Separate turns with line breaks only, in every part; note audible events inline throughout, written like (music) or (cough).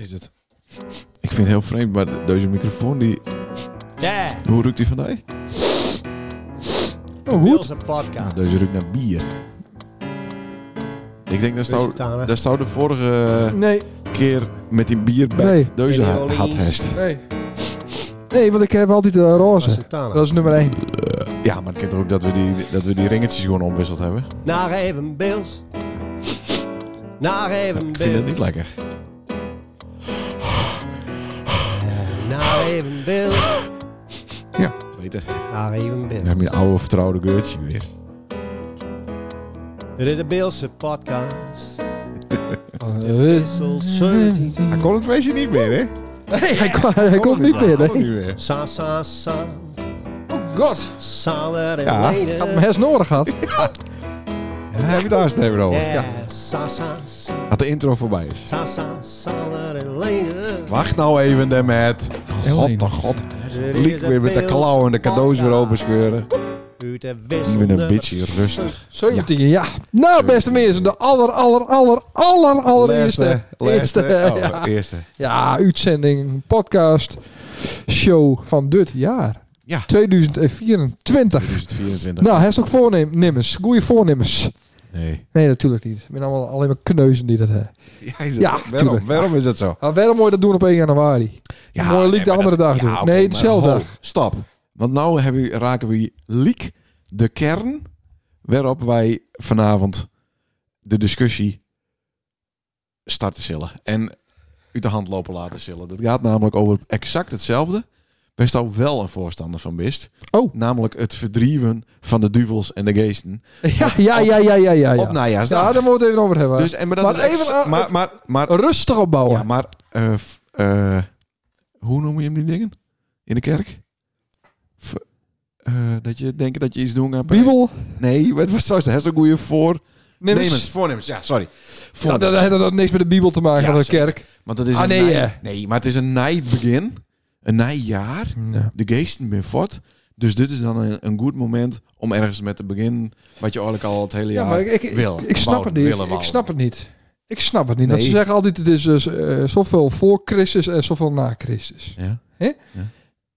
Is het? Ik vind het heel vreemd, maar deze microfoon, die,
Ja,
hoe ruikt die vandaag?
Oh, goed.
Wilse
Nou,
podcast.
deze ruikt naar bier. Ik denk dat zou,
Lusitana.
dat zou de vorige
Nee,
keer met die bier bij
Nee.
deze
In
ha-
Orleans.
had heeft.
nee. Nee, want ik heb altijd de roze.
Lusitana.
Dat is nummer 1.
Ja, maar ik kent ook dat we, die, dat we die ringetjes gewoon omwisseld hebben.
Naar even Bills. Naar even
Ik vind het
Bills.
niet lekker.
Naar even Bills.
Ja, beter.
Naar even
Dan heb
Bills.
je een oude vertrouwde geurtje weer.
Dit is de Bilse podcast.
Oh,
(laughs)
Wissel
Nee,
17.
Hij kon het feestje niet meer, hè?
hij
eh.
kon- hij komt niet meer.
Hij kon
nee.
niet meer.
Sa, sa, sa.
Oh god.
Saler en
Ja,
leden.
Had mijn hersen nodig gehad.
Hij heeft het aansteven over.
Ja, sa, sa, sa.
Dat de intro voorbij is.
Sa, sa, saler en leden.
Wacht nou even, de met. God, de oh, god.
Dit is
Liek weer met de
Bills
klauwen en de cadeaus weer
podcast.
openscheuren.
Uit de
Ik
wissel.
ben een
nummer
beetje rustig.
17, ja. Nou, beste mensen, de aller, aller, aller, aller, allereerste.
Laatste.
Eerste,
Oh,
ja.
eerste.
Ja, uitzending, podcast, show van dit jaar.
Ja.
2024.
2024.
Nou, hij ook voornemens. Goeie voornemens.
Nee.
Nee, natuurlijk niet. Ik ben allemaal alleen maar kneuzen die dat eh, hebben.
Ja, is dat
Ja,
zo? waarom,
tuurlijk.
waarom is dat zo?
Maar Ah, wel mooi dat doen op 1
(laughs)
januari. mooi liek
nee,
de
maar
andere
dat-
dag
ja,
doen.
oké,
nee,
maar
dezelfde
ho,
dag.
Stop. Want nou hebben we- raken we liek de kern waarop wij vanavond de discussie starten zullen. En uit de hand lopen laten zullen. Dat gaat namelijk over exact hetzelfde. Best al wel een voorstander van best.
Oh.
Namelijk het verdrieven van de duvels en de geesten.
Ja, (laughs) ja, ja, ja, ja, ja.
Op
Ja,
najaarsdag.
ja daar moeten we het even over hebben.
dus, en, maar dat
maar
is ex-
even, uh,
maar, maar, maar,
Rustig opbouwen.
ja, maar eh, f- eh, hoe noem je hem die dingen in de kerk? F- eh, dat je denkt dat je iets doen gaat.
Bibel,
Nee, wat was dat? Dat is een goede voor. Nemens,
nemens.
voornemens, ja, sorry.
Ja,
Voornemens.
dat heeft dat niks met de Bijbel te maken,
Ja,
van de
zeker.
kerk.
Want dat is
Ah,
een
nee,
nij-
hè.
nee, maar het is een nijbegin, een nijjaar.
Ja.
De geesten ben fort. Dus dit is dan een, een goed moment om ergens met te beginnen wat je eigenlijk al het hele jaar
maar ik, ik,
wil.
ik snap
wouden,
het niet.
willen
Ik
wouden.
snap het niet. Ik snap het niet. Dat
Nee.
ze zeggen altijd, het is dus, eh, zoveel voor Christus en zoveel na Christus.
Ja.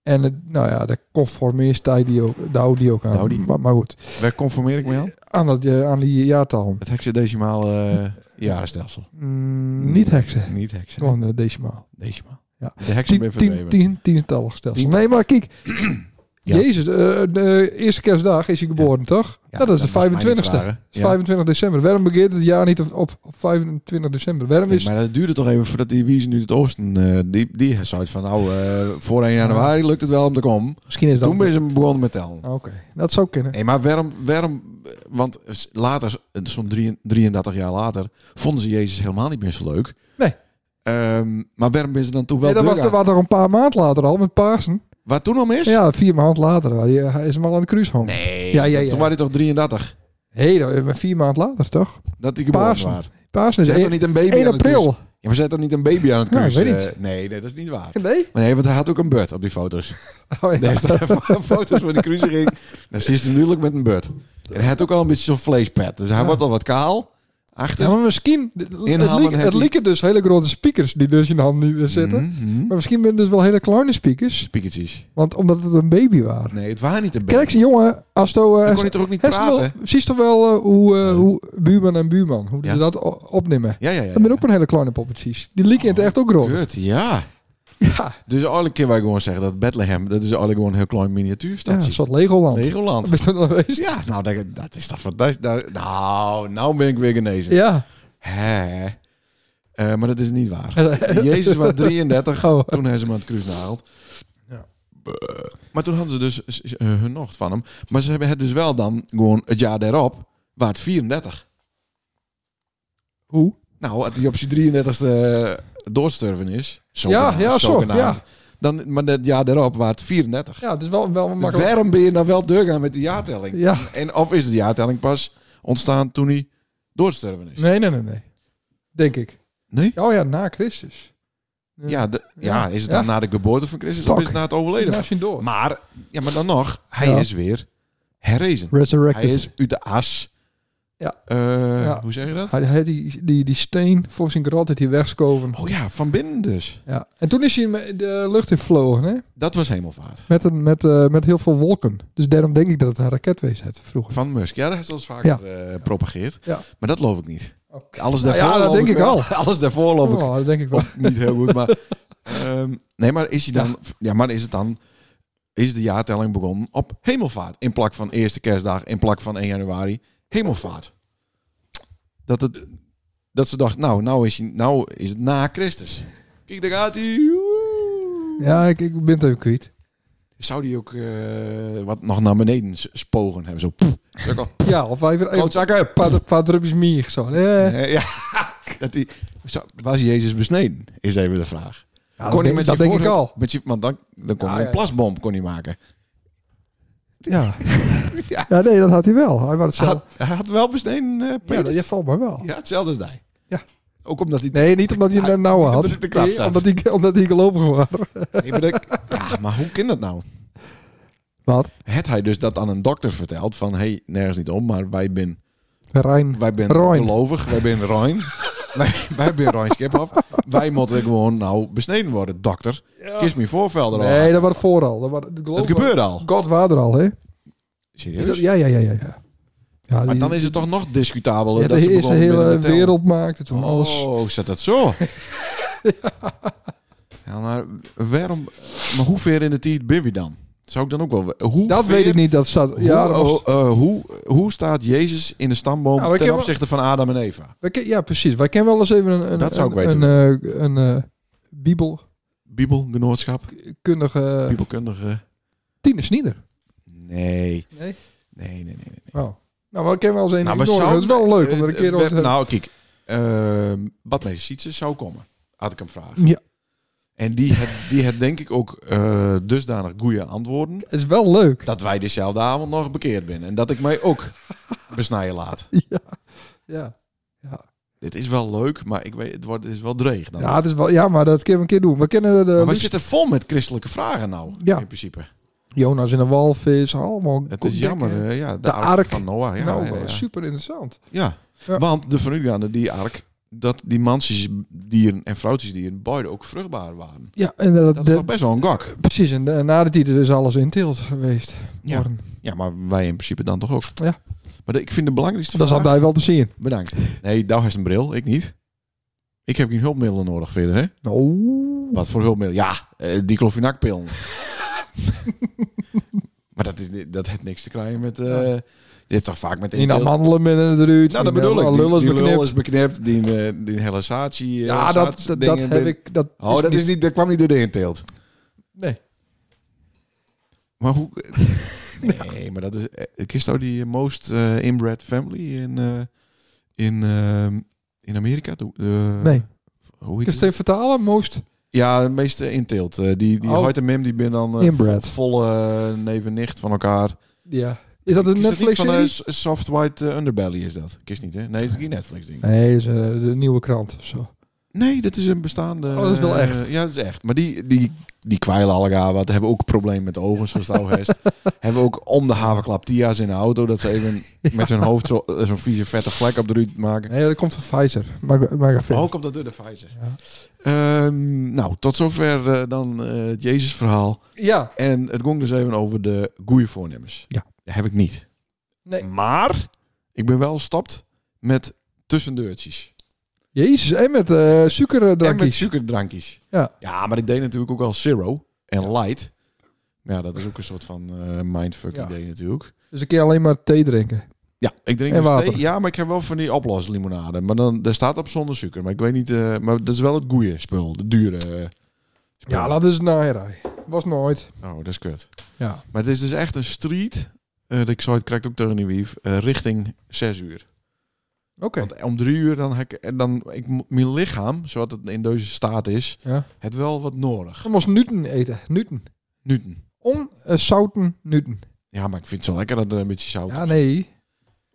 En het, nou ja, de conformist daar die ook, daar die ook aan.
Daar die.
Maar, maar goed,
Waar conformeer ik me aan?
aan, dat, eh, aan die jaartal.
Het hexadecimale eh, jarenstelsel.
Mm, niet heksen.
Niet heksen.
Gewoon eh, decimaal.
Decimaal.
Ja.
De heksen ben
Tien, tien,
verdreven.
tien, tientallig stelsel.
Tientallig.
Nee, maar kijk.
(clears throat) Ja.
Jezus, eh, de eerste kerstdag is hij geboren, toch?
Ja,
nou, dat is
dat was mijn
de 25ste.
vraag, hè?
Dat
Ja.
is 25 december. Waarom begint het jaar niet op, op 25 december? Waarom
Nee,
is...
maar dat duurde toch even voordat die wiezen nu het oosten... eh, die, die zei het van, nou, eh, voor 1 januari lukt het wel om te komen.
Misschien is dat...
Toen ben ze begonnen met tellen.
Oké, dat zou kunnen.
Nee, maar waarom... waarom want later, zo'n drie- 33 jaar later, vonden ze Jezus helemaal niet meer zo leuk.
Nee.
Ehm, maar waarom ben ze dan toen wel
nee, dat was,
druk
dat
aan-
was er een paar maanden later al, met Pasen.
Waar toen al mis?
Ja, vier maanden later. Hij hij is hem al aan de cruise home.
Nee,
Ja, ja, ja.
toen waren die toch 33?
Hé, dat- maar vier maanden later, toch?
Dat die geboren
Pasen.
waren.
Pasen is
Zet er
1,
niet een baby aan het cruisen?
april.
Ja, maar zet er niet een baby aan het
Nou, ik
cruisen?
weet
eh, nee, nee, dat is niet waar.
(laughs) Nee?
Nee, want hij had ook een beurt op die foto's.
Oh, ja.
Daar staan
(laughs)
(laughs) foto's van de cruising. Dan zit hij natuurlijk met een beurt. En hij had ook al een beetje zo'n vleespet. Dus hij
Ja.
wordt al wat kaal.
Ja,
Achter.
maar misschien... Het
Inhammen
lieken
heb
het
je-
lieken dus hele grote speakers die dus in de hand nu weer zitten.
Mhm.
Maar misschien zijn het dus wel hele kleine speakers.
Spiekertjes.
Want omdat het een baby waren.
Nee, het waren niet een beurt.
Kijk eens, jongen, als je...
Dan kon hij toch ook niet praten?
Zie toch wel eh, hoe, eh, hoe buurman en buurman, hoe
Ja.
ze dat o- opnemen.
Ja, ja, ja. Oh,
Dat ben ook een hele kleine poppetjes. Die lieken in het echt ook groot.
Beurt, ja.
Ja,
Dus eigenlijk kunnen wij gewoon zeggen dat Bethlehem, dat is eigenlijk gewoon een heel klein
ja, een
miniatuurstadje.
soort Legoland.
Legoland.
Dat is toch wel geweest?
Ja, nou, dat, dat is toch fantastisch. Daar- Nou, nou ben ik weer genezen.
Ja.
Hè. Eh, maar dat is niet waar. (laughs) Jezus was 33
Oh.
toen hij ze maar aan het kruis naald.
Ja.
Maar toen hadden ze dus s- s- eh, hun nocht van hem. Maar ze hebben het dus wel dan gewoon het jaar daarop, waar het 34.
(laughs) Hoe?
Nou, als hij op zijn 33ste doorsterven is, zogenaamd,
ja, zo,
zogenaamd, Dan, maar het jaar daarop, waar het 34.
Ja, het is wel, wel makkelijk.
Waarom ben je dan wel doorgaan met de jaartelling?
Ja.
En of is de jaartelling pas ontstaan toen hij doorsterven is?
Nee, nee, nee, nee. Denk ik.
Nee?
Oh ja, na Christus.
Ja, de- ja, is het dan
Ja.
na de geboorte van Christus of
Fuck.
is het na het overleden
Na zijn dood.
Maar, ja, maar dan nog, hij
Ja.
is weer herrezen. Hij
Resurrected.
is uit de as
Ja.
Eh,
Ja.
Hoe zeg je dat?
Hij had die, die, die steen voor zijn grot had hij wegschoven.
Oh ja, van binnen dus.
Ja. En toen is hij me- de lucht in vlogen, hè?
Dat was hemelvaart.
Met, een, met, eh, met heel veel wolken. Dus daarom denk ik dat het een raketwees had vroeger.
Van Musk. Ja, dat is wel eens vaker eh propageerd.
Ja.
Maar dat geloof ik niet.
Oké.
Alles
Nou
daarvoor
ja, dat
geloof
denk ik
wel.
al.
(laughs) Alles daarvoor loop ik
Oh, dat denk ik wel.
ook niet heel goed. Maar, ehm, nee, maar is, hij dan, ja. maar is het dan... Is de jaartelling begonnen op hemelvaart? In plak van eerste kerstdag, in plak van 1 januari. Hemelvaart. Dat, het, dat ze dacht, nou, nou is, hij, nou is het na Christus. Kijk, daar gaat hij. Woe.
Ja, ik, ik ben het even kwijt.
Zou die ook eh, wat nog naar beneden s- spogen hebben? Zo, poef. Zo, kom,
Ja, of even even een
klootzakken.
paar, paar drupjes mier. Zo. Eh.
Eh, ja, (laughs) dat die, Zo, was Jezus besneden? Is even de vraag. kon
Ja, dat
hij
denk-
met
dat
zijn
denk ik
voorhoofd-
al.
Met zijn, want dan, dan kon
Ja,
hij een
ja.
plasbom kon hij maken.
Ja.
(laughs) Ja.
ja, nee, dat had hij wel. Hij was
Hij
hetzelfde.
had, hij had wel besneden, eh
Ja,
Peter.
dat je valt maar wel.
Ja, hetzelfde als hij.
Ja.
Ook omdat hij...
Nee, niet omdat hij
Hij-
hem nou
niet
had.
omdat hij te knap
Nee,
zat.
omdat hij omdat hij gelovig was.
Nee, maar dat- ja, maar hoe kan dat nou?
Wat?
Het hij dus dat aan een dokter verteld van... hey, nergens niet om, maar wij ben,
Rijn.
wij ben
Roin.
gelovig, wij ben Roin.
(laughs)
wij, wij ben Roin Schiphoff. wij moeten gewoon nou besneden worden, dokter. Kies me voorvelder al.
Nee, dat was vooral. Dat, was,
Het gebeurde al.
God was er al, hè?
Serieus?
Dat- ja, ja, ja, ja. ja. ja
Maar
die-
dan is het toch nog discutabeler
ja,
dat ze
de eerste
begonnen met
hele
het tellen.
wereld maakte toen alles.
Oh, zat dat zo?
(laughs)
ja. maar waarom... Maar hoe ver in de tijd ben je dan? Zou ik dan ook wel... Hoe
Dat
ver-
weet ik niet, dat staat... Ja,
hoe,
dat was-
eh, hoe, hoe staat Jezus in de stamboom
Nou, ik
ten
heb wel-
opzichte van Adam en Eva?
wij ken- ja, precies. Wij kennen wel eens even een, een,
Dat zou ik
een,
weten.
een, eh, een, eh, bibelkundige
Bibelgenootschap?
Tine
Bibelkundige?
Snieder.
Nee.
Nee?
Nee, nee, nee. nee.
Oh. Nou, we kennen wel eens een
Nou,
nou,
we
Dat is wel leuk om er een keer
Eh,
over
we-
te hebben.
Nou, kijk. ehm Badmeester Sietse zou komen. Had ik hem vragen.
Ja,
En die het, die het denk ik ook eh, dusdanig goede antwoorden.
het is wel leuk.
Dat wij dezelfde avond nog bekeerd ben. En dat ik mij
(laughs)
ook besnijden laat.
Ja, ja.
Dit is wel leuk, maar ik weet, het, wordt, het is wel dreig. Dan.
Ja, het is wel, ja, maar dat kunnen we een keer doen. We kennen de
maar we
Luus-
zitten vol met christelijke vragen nou.
Ja.
In principe.
Jonas in de walvis, allemaal.
Het is
ontdekken.
jammer. eh, ja, de,
De
ark,
ark.
van Noah. Ja,
nou,
ja, ja.
super interessant.
Ja.
Ja.
Want de vanuitgaande, die ark, dat die mansdieren en vrouwtjesdieren beide ook vruchtbaar waren.
Ja, en dat,
Dat
de-
is toch best wel een gok.
precies. En, de- na de titel is alles in tilt geweest.
Ja.
worden.
Ja, maar wij in principe dan toch ook.
Ja.
Maar de- ik vind de belangrijkste
Dat zat
vraag-
hij wel te zien.
Bedankt. Nee, daar heeft een bril. Ik niet. Ik heb geen hulpmiddelen nodig verder, hè?
Oh.
Wat voor hulpmiddelen? Ja, eh diclofenacpillen. (laughs) maar dat, is, ni- dat heeft niks te krijgen met... eh,
Ja.
Dit is toch vaak met...
In
één
dat
pil-
mandelenmiddel eruit.
Nou, dat
in
bedoel
alle
ik.
lullen
Die,
is
die lul
beknipt.
is beknipt. Die, eh, die relasatie... eh,
Ja, dat, dat, dat
dingen
heb
ben-
ik. Dat
Oh, dat, is niet, dat kwam niet door de inteelt.
Nee.
Maar
(laughs)
hoe... nee, maar dat is... eh, Kist nou die most eh, inbred family in... eh, in, ehm, in Amerika? Doe- eh,
Nee.
Hoe heet het?
Ik kan het even vertalen, Most.
Ja, de meeste inteelt. Eh, die die
Oh.
Hoyt en Mim die ben dan eh,
Inbred.
vo- volle eh, neef en nicht van elkaar.
Ja. Is dat een
Is niet van eh,
Netflix-serie?
S- Soft White eh, Underbelly is dat? Kist niet, hè? Nee, dat is geen Netflix ding.
Nee, is eh, de nieuwe krant of zo.
Nee, dat is een bestaande...
Oh, dat is wel
eh,
echt.
ja, dat is echt. Maar die, die, die kwijlen alle elkaar wat. Hebben ook problemen met de ogen, zoals het oude
(laughs)
hest. Hebben ook om de havenklap Tia's in de auto. Dat ze
(laughs)
even met hun hoofd zo- eh, zo'n vieze vette vlek op de ruit maken.
Nee, dat komt van Pfizer. Maar, maar ik
Ook op dat de Pfizer.
Ja.
Ehm, nou, tot zover eh, dan eh, het Jezus-verhaal.
Ja.
En het ging dus even over de goede voornemens.
Ja.
Dat heb ik niet.
Nee.
Maar ik ben wel gestapt met tussendeurtjes.
Jezus, en met eh
En met
suikerdrankjes.
suikerdrankjes.
Ja.
Ja, maar ik deed natuurlijk ook al zero en light. Ja, dat is ook een soort van eh, mindfuck
Ja.
idee natuurlijk.
Dus een keer alleen maar thee drinken.
Ja, ik drink
En
dus
water.
thee. Ja, maar ik heb wel van die oploslimonade. Maar dan daar staat op zonder suiker. Maar ik weet niet... eh, maar dat is wel het goeie spul. De dure eh, spul.
Ja, dat is naai. Was nooit.
Oh, dat is kut.
Ja.
Maar het is dus echt een street. eh, dat ik zou het krijgt ook tegen die wief. eh, richting 6 uur.
Oké.
Want eh, om drie uur dan heb ik, en dan ik mo- mijn lichaam, zoals het in deze staat is,
Ja.
het wel wat nodig.
Dan moest Newton eten. Newton.
Newton.
Onzouten Newton.
Ja, maar ik vind het zo lekker dat er een beetje zout.
Ja, nee.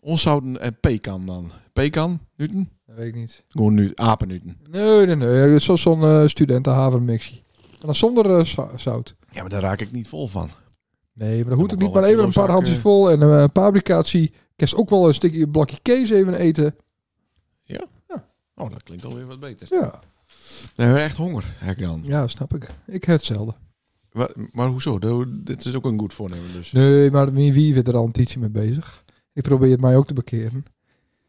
Onzouten en pekan dan. Pekan, Newton.
Dat weet ik niet.
Gewoon nu apen Newton.
Nee, nee, nee. Dat is zo- zo'n eh studentenhavenmixie. En dan zonder eh, zo- zout.
Ja, maar daar raak ik niet vol van.
Nee, maar dat hoeft
Dan
ook
moet
niet.
wel
Maar
een
even een
kilo zak,
paar handjes
eh.
vol en eh, een paar applicatie. Kerst ook wel een stukje een blokje kees even eten.
Oh, dat klinkt alweer wat beter.
Ja,
Dan hebben we echt honger, heb ik dan.
ja snap ik. Ik heb hetzelfde.
Wa- Maar hoezo? Dat- Dit is ook een goed voornemen dus.
Nee, maar wie, wie werd er al een tietje mee bezig? Ik probeer het mij ook te bekeren.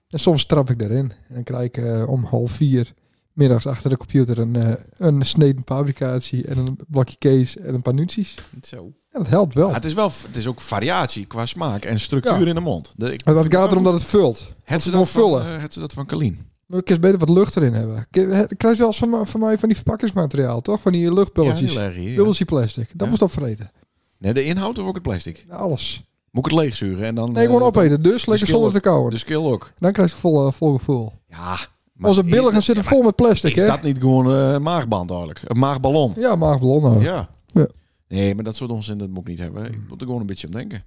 En soms trap ik daarin. En dan krijg ik eh, om half vier middags achter de computer een, eh een sneden paprikaatje en een blokje kees en een paar nuties.
Niet zo.
En dat helpt wel.
Ah, het, is wel, het is ook variatie qua smaak en structuur
Ja.
in de mond. De, ik
Maar dat
vind
gaat
wel
erom dat het vult.
goed. Het ze
het
dat
gewoon
van,
vullen.
eh, het ze dat van Kalien.
Maar ik kan beter wat lucht erin hebben. Ik- Ik krijg wel eens van, me- van mij van die verpakkingsmateriaal, toch? Van die luchtbulletjes.
Ja, heel erg hier, ja.
Bubbeltje plastic. Dat
eh, Ja.
moest opvreten.
Nee, de inhoud of ook het plastic?
Alles.
Moet ik het leegzuren en dan...
Nee, gewoon
eh,
opeten. Dus lekker
schil
zonder te kauwen.
De skill ook.
Dan krijg je vol, eh, vol gevoel.
Ja. maar
Onze
is
billen gaan
dat-
zitten
ja,
vol met
maar
plastic,
Is
hè?
dat niet gewoon eh, een maagband eigenlijk? Een maagballon?
Ja, maagballonnen.
Ja.
Oh. Ja.
Nee, maar dat soort onzin dat moet ik niet hebben. Ik moet er gewoon een beetje om denken.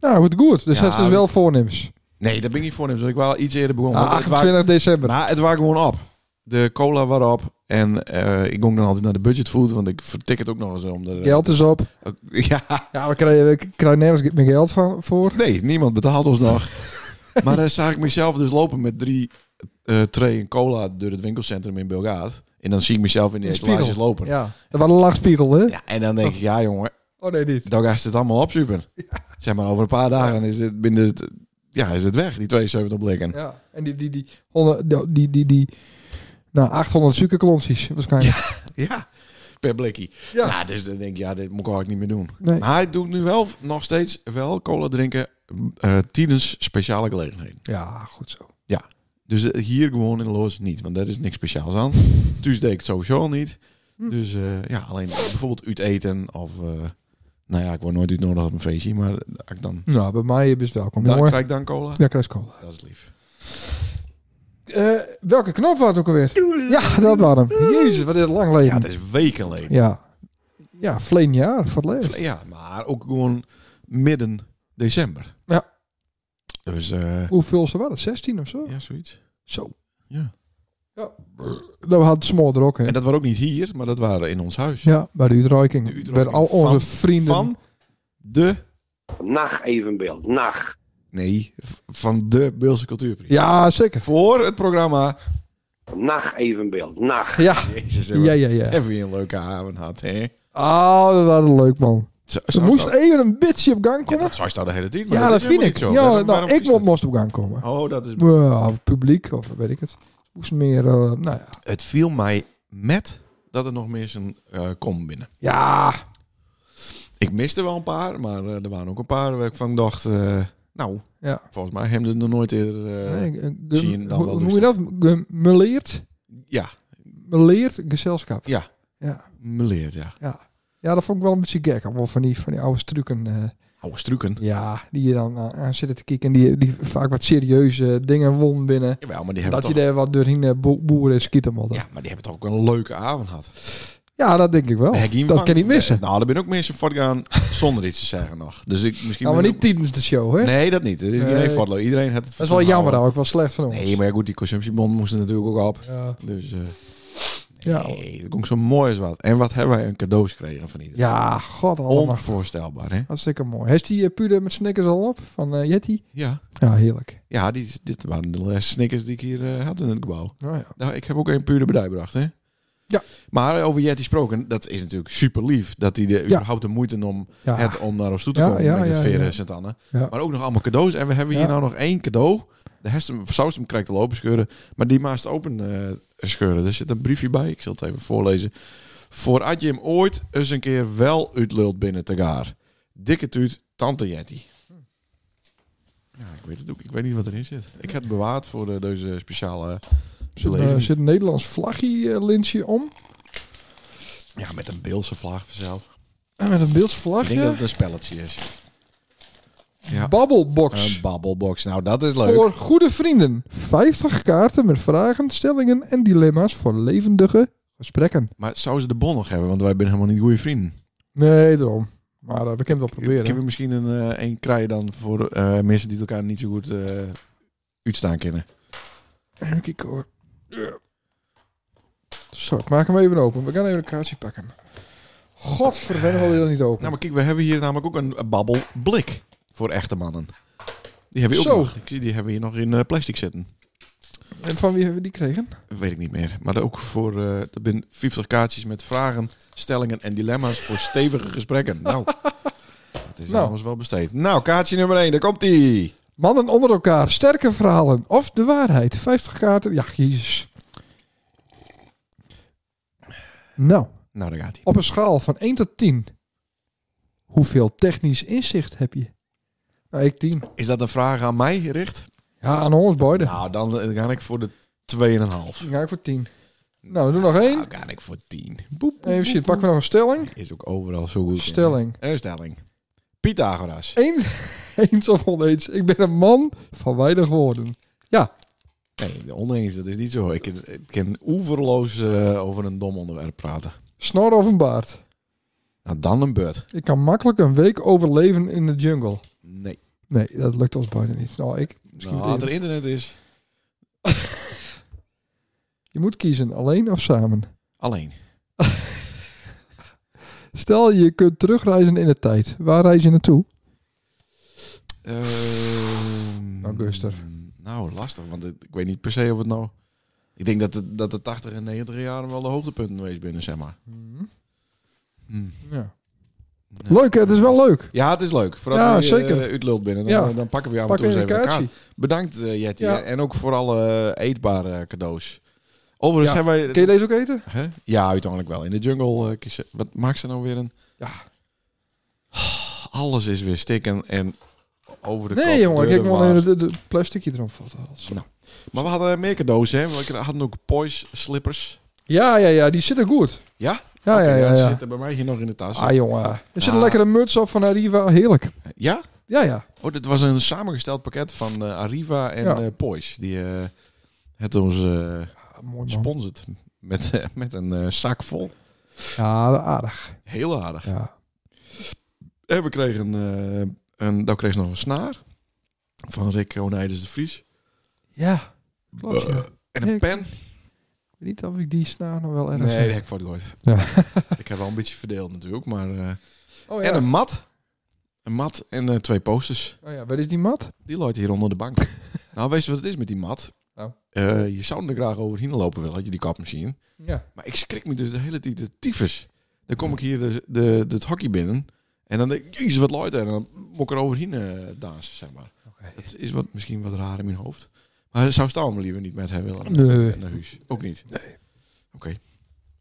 Nou, goed, goed. Dus
Ja,
dat is wel voornemens.
Nee, dat ben ik niet voornemens. Ik was al iets eerder begonnen.
Ah,
want het wa-
28 december.
Maar het was gewoon op. De cola was op. En eh, ik ging dan altijd naar de budgetfood, want ik vertik het ook nog eens om de...
Geld is op.
(laughs) Ja,
Ja, we krijgen, we krijgen nergens meer geld van, voor.
nee, niemand betaalt ons nog. maar dan zag ik mezelf dus lopen met drie eh trayen cola door het winkelcentrum in Belgaat. En dan zie ik mezelf in de
Een spiegel.
etalages lopen. Ja.
Ja, dat was een lachspiegel, hè?
en dan denk ik, ja jongen,
Oh nee, niet.
dan gaat het allemaal op, super. Zeg maar, over een paar dagen is het binnen het... Ja, is het weg, die 72 blikken.
Ja, en die, die, die, honderd- die, die, die, die nou, 800 suikerklontjes waarschijnlijk.
Ja, per blikkie.
Ja.
Ja. dus dan denk ik, ja, dit moet ik eigenlijk niet meer doen.
Nee.
Maar hij doet nu wel nog steeds wel cola drinken eh tijdens speciale gelegenheden.
Ja, goed zo.
Dus eh, hier gewoon in Loos niet, want daar is niks speciaals aan. Thuis deed ik het sowieso al niet.
Hm.
Dus eh, ja, alleen bijvoorbeeld uit eten of... eh, nou ja, ik word nooit uitnodigd op een feestje, maar als ik dan,
Nou, bij mij best welkom.
dan
jongen.
krijg ik dan cola.
Ja, krijg je cola.
Dat is lief.
Eh, welke knop was het ook alweer? Ja, dat was hem. Jezus, wat is het lang
Ja,
leven.
het is weken geleden.
Ja, ja vleen jaar voor het leven.
Ja, maar ook gewoon midden december.
Ja.
Dus eh,
Hoeveel ze waren? 16 of zo?
ja, zoiets.
Zo.
Ja.
ja. Dat had smoor er ook, hè?
En dat waren ook niet hier, maar dat waren in ons huis.
Ja, bij de uitreiking.
De uitreiking
Bij al onze
van-
vrienden.
Van de...
Nacht evenbeeld, nacht.
Nee, v- van de Beelse Cultuurprijs.
Ja, zeker.
Voor het programma.
Nacht evenbeeld, nacht.
Ja,
Jezus,
ja, ja. ja.
even een leuke haven had, hè?
Oh, dat was leuk, man.
Zo,
Ze
zo
moest
staat-
even een beetje op gang
ja,
komen.
dat zou staan de hele tijd. maar
Ja, dat
is
vind ik.
helemaal niet zo.
Ja,
Waarom-
nou,
waarom
ik
is dat?
moest op gang komen.
Oh, dat is...
Ja, Of publiek, of weet ik het. Ze moest meer, eh, nou ja.
Het viel mij met dat er nog meer een eh kom binnen.
Ja,
Ik miste wel een paar, maar eh, er waren ook een paar waar ik van dacht... eh, nou,
Ja.
volgens mij hebben we er nog nooit eerder... eh,
nee, eh, gem-
zie je dan wel
hoe, hoe noem je
rustig.
dat? Gemeleerd?
Ja,
Meleerd gezelschap.
Ja.
ja.
meleerd, ja.
Ja, dat vond ik wel een beetje gek. Allemaal van die, van die oude trucken. eh,
Oude struiken.
ja, die je dan aan, aan zitten te kijken. En die, die vaak wat serieuze dingen won binnen.
Jawel, maar die hebben
Dat je
toch...
daar wat doorheen eh, bo- boeren schieten moet. Ja.
Ja, maar die hebben toch ook een leuke avond gehad.
dat denk ik wel.
Hek in
Oh, dat
van-
kan je niet missen.
Nou, er ben ook mensen voortgaan zonder iets te zeggen nog. Dus ik misschien...
Nou, maar
ben
niet tijdens de show, hè?
ook- Nee, dat niet. Er is
Nee.
iedereen voortgaan. Iedereen had het
dat is wel jammer, daar ook wel slecht van ons.
Nee, maar ja, goed, die consumptiebond moest er natuurlijk ook op.
Ja,
Dus eh
ja,
nee, dat komt zo mooi als wat. En wat hebben wij een cadeaus gekregen van iedereen.
ja, god allemaal.
Onvoorstelbaar, hè?
Hartstikke mooi. Heeft die eh, puder met snickers al op van eh, Yeti?
Ja.
Ja, heerlijk.
Ja, die, dit waren de les snickers die ik hier eh, had in het gebouw.
Nou ja.
Nou, ik heb ook een puur de bedrijf gebracht, hè?
Ja.
Maar over Jetty gesproken, dat is natuurlijk super lief. Dat hij de, überhaupt de moeite nam
ja.
het om naar ons toe te
Ja,
komen
ja,
met het
ja,
veren
ja.
en Sint-Anne.
Ja.
Maar ook nog allemaal cadeaus. En we hebben hier
Ja.
nou nog één cadeau. De hersen, saus hem krijgt al open scheuren. Maar die maast open eh, scheuren. Er zit een briefje bij. Ik zal het even voorlezen. Voor Adjem ooit eens een keer wel uitlult binnen te gaar. Dikke tuut, tante Jetty. Ja, ik weet het ook. Ik weet niet wat erin zit. Ik heb het bewaard voor eh, deze speciale
Er zit, een,
beleving.
eh, zit een Nederlands vlagje eh lintje om.
Ja, met een Beelse vlag vanzelf.
En met een beelds
Ik denk dat
vlagje.
het een spelletje is. Ja.
Babbelbox.
Een babbelbox. Nou, dat is leuk.
Voor goede vrienden. 50 kaarten met vragen, stellingen en dilemma's voor levendige gesprekken.
Maar zou ze de bon nog hebben? Want wij zijn helemaal niet goede vrienden.
Nee, daarom. Maar eh, we kunnen het wel
Ik heb
proberen.
er misschien een, eh, een krijgen dan voor eh, mensen die het elkaar niet zo goed eh uitstaan kennen.
Even kijken hoor. Zo, ik maak hem even open. We gaan even een kaartje pakken. Godverdomme, wil je dat niet open?
Nou, maar kijk, we hebben hier namelijk ook een een babbel blik voor echte mannen. Die hebben we ook
Zo.
nog. Ik zie, die hebben we hier nog in eh, plastic zitten.
En van wie hebben we die gekregen?
Weet ik niet meer. Maar ook voor eh er zijn 50 kaartjes met vragen, stellingen en dilemma's voor stevige gesprekken. (laughs) Nou, dat is
Nou.
nou. wel besteed. Nou, kaartje nummer 1, daar komt ie.
Mannen onder elkaar, sterke verhalen of de waarheid. 50 kaarten. Ja, jezus. Nou,
Nou, daar gaat hij.
op een schaal van 1 tot 10. Hoeveel technisch inzicht heb je? Nou, ik 10.
Is dat een vraag aan mij gericht?
Ja, aan ons beiden.
Nou, dan eh, ga ik voor de 2,5.
Dan ga ik voor 10. Nou, we doen nog één.
Nou, ga ik voor 10.
Even zien, pakken we nog een stelling.
Is ook overal zo goed. in.
Stelling.
Een stelling. Pythagoras.
Eens, (laughs) eens of oneens. Ik ben een man van weinig woorden.
Nee, oneens, dat is niet zo. Ik kan, ik kan oeverloos eh, over een dom onderwerp praten.
Snor of een baard.
Nou, dan een beurt.
Ik kan makkelijk een week overleven in de jungle.
Nee.
Nee, dat lukt ons beiden niet. Nou, ik. Misschien
Nou,
het
als er internet is,
Je moet kiezen, alleen of samen.
alleen.
Stel, je kunt terugreizen in de tijd. Waar reis je naartoe?
Ehm,
Nou, Guster.
Nou, lastig, want het- ik weet niet per se of het nou... Ik denk dat de, dat de 80 en 90 jaren wel de hoogtepunten geweest binnen, zeg maar. Hm.
Ja. Leuk, hè? het is wel leuk.
Ja, het is leuk. Vooral
Ja,
ja, zeker.
zeker.
Uh, uitlult binnen. Dan,
Ja.
dan pakken we jou af en
Pak
toe eens
een
even een kaart.
kaartje.
Bedankt, eh, Jetty.
Ja.
En ook voor alle eh, eetbare cadeaus. Overigens
Ja.
hebben
Kun
wij...
je deze ook eten?
Hè? Ja, uiteindelijk wel. In de jungle... eh, kiezen- wat maakt ze nou weer een... Ah,
Ja.
Alles is weer stikken en over de
Nee,
kop
jongen. Ik heb
deuren
wel
waar.
een de, de plasticje erom valt.
Maar we hadden meer cadeaus, hè. We hadden ook poise slippers.
Ja, ja, ja. Die zitten goed.
Ja?
Ja,
Oké,
ja, ja.
Ze
ja.
zitten bij mij hier nog in de tas.
Ah, jongen. Er zit
Ah.
een lekkere muts op van nou, Arriva. Heerlijk.
Ja?
Ja, ja.
Oh, dit was een samengesteld pakket van eh, Arriva en
Ja.
eh, Poise. Die eh, het ons... eh,
Ah, mooi man.
sponsort met, eh, met een eh, zak vol.
Ja, aardig.
Heel aardig.
Ja.
En we kregen eh een, nou kreeg ze nog een snaar van Rick Onijdes de Vries.
Ja. Klopt, ja. Ik
En een
Ja, ik-
pen.
weet niet of ik die snaar nog wel ergens
Nee, die
heb.
heb ik voor het gehoord. (laughs) Ik heb wel een beetje verdeeld natuurlijk, maar... eh,
Oh,
En
ja.
een mat. Een mat en eh, twee posters.
oh ja, wat is die
(laughs)
mat?
Die looit hier onder de bank. nou, weet je wat het is met die mat?
Nou.
Eh, je zou er graag overheen lopen willen, had je die kapmachine.
Ja.
Maar ik schrik me dus de hele tijd de tyfus. Dan kom ik hier de, de, het hockey binnen. En dan denk ik, jezus, wat luid. En dan moet ik er overheen eh, dansen, zeg maar.
Oké.
Dat is wat, misschien wat raar in mijn hoofd. Maar zou Staan me liever niet met hem willen.
Nee.
Naar huis. Ook niet. Nee. Oké.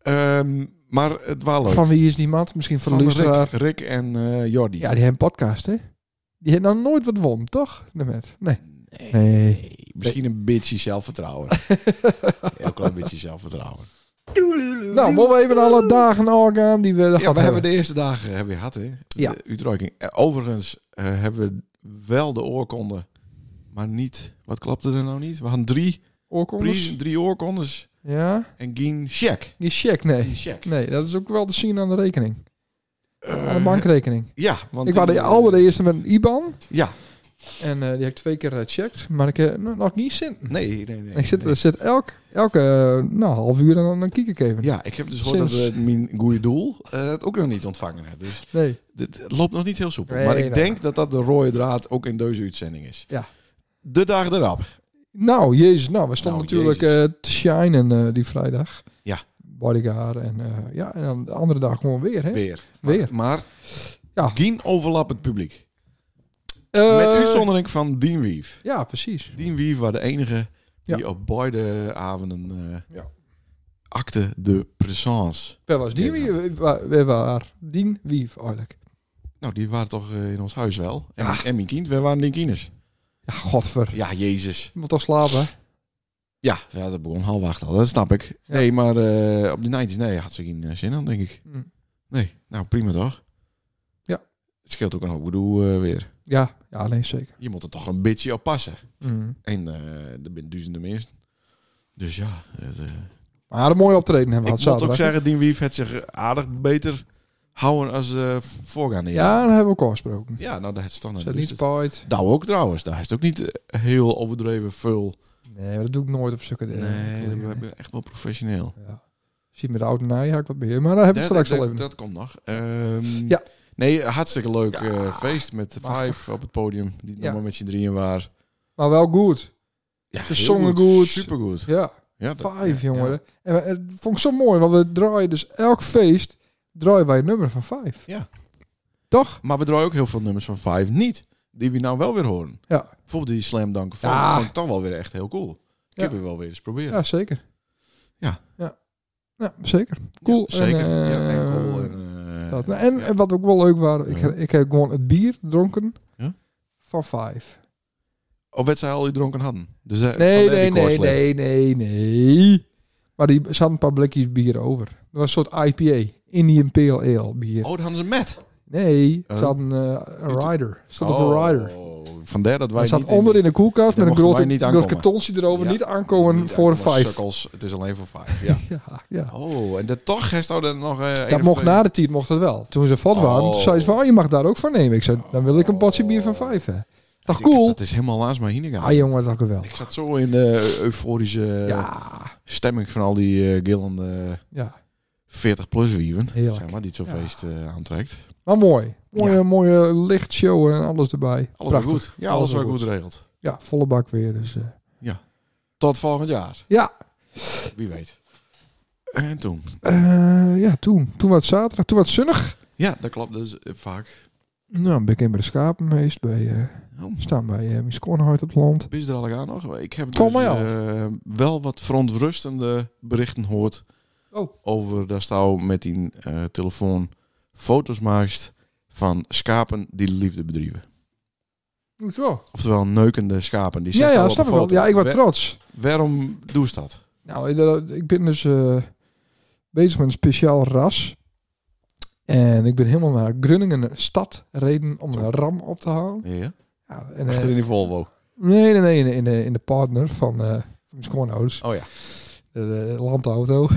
Ehm, maar het was leuk.
Van wie is die mat? Misschien van, de luisteraar.
Rick, Rick en eh, Jordi.
Ja, die hebben een podcast, hè? Die heeft nou nooit wat won, toch? Daarmet. Nee. Nee.
Nee, misschien een beetje
(laughs)
zelfvertrouwen. Heel klein beetje zelfvertrouwen.
Nou, mogen we even alle dagen orgaan die we gehad
Ja, we hebben
hebben.
de eerste dagen eh, hebben we gehad, hè?
Ja.
De uitreiking. Eh, Overigens eh, hebben we wel de oorkonde, maar niet... Wat klapte er nou niet? We hadden drie,
Oorkondes?
prijzen, drie oorkondes
Ja.
en geen check.
Die check, nee.
Geen check.
Nee, dat is ook wel te zien aan de rekening.
Eh,
aan de bankrekening.
Ja, want...
Ik was de
die-
allereerste met een IBAN.
Ja,
En eh, die heb ik twee keer gecheckt. Maar ik heb nog niet zin.
nee, nee, nee.
ik zit,
nee.
er dus- zit elk, elke eh, nou, half uur en dan, dan kijk ik even.
Ja, ik heb dus gehoord
Sinds-
dat we mijn goede doel eh, het ook nog niet ontvangen hebben. Dus
Nee.
dit het loopt nog niet heel soepel.
Nee,
maar ik
nee.
denk dat dat de rode draad ook in deze uitzending is.
Ja.
De dag erop.
Nou, jezus. Nou, we stonden
Nou,
natuurlijk
jezus.
eh, te shinen eh, die vrijdag.
Ja.
Bodyguard en eh, ja, en dan de andere dag gewoon weer, hè?
Weer.
Weer.
Maar, maar
Ja.
geen overlappend publiek.
Eh,
Met uitzondering van Dean Wief.
Ja, precies.
Dean Wief was de enige die op beide avonden eh,
Ja.
acte de présence.
Waar was die? Wie, waar, waar- waar? Dien wie eigenlijk?
Nou, die waren toch eh, in ons huis wel. En,
Ja.
en mijn kind, we waren Linkines.
Ah. Ja, godver.
Ja, Jezus.
Je moet al slapen. hè?
Ja, ja dat begon half acht al, dat snap ik.
Ja.
Nee, maar eh, op de 90s, nee, had ze geen eh, zin aan, denk ik.
Hm.
Nee, nou prima toch?
Ja.
Het scheelt ook een hoop gedoe eh, weer.
Ja, ja, nee, zeker.
Je moet er toch een beetje op passen.
Mhm.
En eh er zijn duizenden mensen. Dus ja, het, eh,
Maar een mooi optreden hebben we
Ik
gehad
moet ook
zaterdag.
zeggen, Dien Wief heeft zich aardig beter houden als eh voorgaande
Ja,
jaren.
daar hebben we ook al gesproken.
Ja, nou, dat heeft stand.
Is dat niet spijt?
Nou, ook trouwens. Daar is het ook niet eh, heel overdreven veel.
Nee, maar dat doe ik nooit op stukken.
nee, we hebben echt wel professioneel.
Ja. Ziet met de oude naaihaak wat meer. Maar daar hebben we
Dat-
straks al
dat-
even.
Dat komt nog. Ehm,
Ja.
Nee, hartstikke leuk
Ja,
eh, feest met de
machtig.
Five op het podium. Die
Ja.
nog maar met je drieën waren.
Maar wel goed.
Ja,
Ze
heel
zongen goed.
Supergoed.
Ja,
Ja, dat-
Five,
ja,
jongen. En we- het vond ik zo mooi, want we draaien dus elk feest draaien wij een nummer van Five.
Ja.
Toch?
Maar we draaien ook heel veel nummers van Five niet. Die we nou wel weer horen.
Ja.
Bijvoorbeeld die Slam Dunk. Vond,
Ja.
vond ik toch wel weer echt heel cool. Ik
Ja.
heb hem wel weer eens proberen.
Ja, zeker.
Ja.
Ja, ja zeker. Cool.
Ja, zeker.
En,
En,
eh,
ja, en cool. En, eh,
dat. En,
ja.
en wat ook wel leuk was, ik,
Ja.
ik heb gewoon het bier gedronken
Ja.
van Five.
Of werd zij Oh, al die dronken hadden? Dus, eh,
Nee,
van
nee,
Lady
nee,
Corsley.
nee, nee, nee. Maar die zat een paar blikjes bier over. Dat was een soort IPA. Indian Pale Ale bier.
Oh, dan hadden ze met.
Nee, er
Oh.
zat een, eh, een rider. Er zat op een
Oh,
rider.
Vandaar dat wij
Hij zat
niet
onder in de koelkast
Daar
met een
mochten
groot,
wij niet
groot
aankomen.
kartonnetje erover.
Ja,
Niet aankomen
niet
voor een
aankomen,
vijf.
sukkels. Het is alleen voor vijf,
(laughs)
ja.
Ja, ja.
Oh, en dat toch heeft nou dan nog... eh, één
Dat
of
mocht
twee-
na de tijd, mocht dat wel. Toen ze vat waren,
Oh.
toen zei ze van, oh, je mag daar ook van nemen. Ik zei, dan wil ik een potje bier van vijf, hè. Dacht,
Ik denk
cool.
Dat is helemaal laatst maar heen
Ah, jongen, dat ook wel.
Ik eh, zat zo in de euforische
Ja,
stemming van al die eh, gillende
ja.
40-plus wieven.
Heerlijk.
Zeg maar, die het zo'n
Ja.
feest eh, aantrekt.
Maar mooi. Mooie,
Ja.
mooie lichtshow en alles erbij.
Alles wel
Prachtig.
goed. Ja, alles
wel
wel goed geregeld.
Ja, volle bak weer. Dus, eh,
Tot volgend jaar.
ja.
Wie weet. En toen.
Eh, ja, toen. Toen was het zaterdag. Toen was het zonnig.
Ja, dat klopt. Dat is eh, vaak.
Nou, ben ik in bij de schapen geweest. Bij, eh,
Oh, (laughs)
we staan bij eh mijn schoonheid op het land.
ben je er al aan nog? Ik heb
Volgens mij al.
eh, wel wat verontrustende berichten gehoord.
Oh.
Over dat jou met die eh, telefoon foto's maakt van schapen die de liefde bedrijven.
Hoezo?
Oftewel neukende schapen. Die
Ja,
zitten
ja,
al op
snap
een
ik wel.
foto.
Ja, ik was
Wa-
trots.
Waarom doe je dat?
Nou, eh, ik ben dus eh, bezig met een speciaal ras. En ik ben helemaal naar Grunningen stad reden om een ram op te halen.
Ja.
Ja, en, eh,
Achter in die Volvo.
nee, nee, nee, in de, in de, in de partner van, eh, van mijn schoonouders.
Oh ja.
De, de landauto.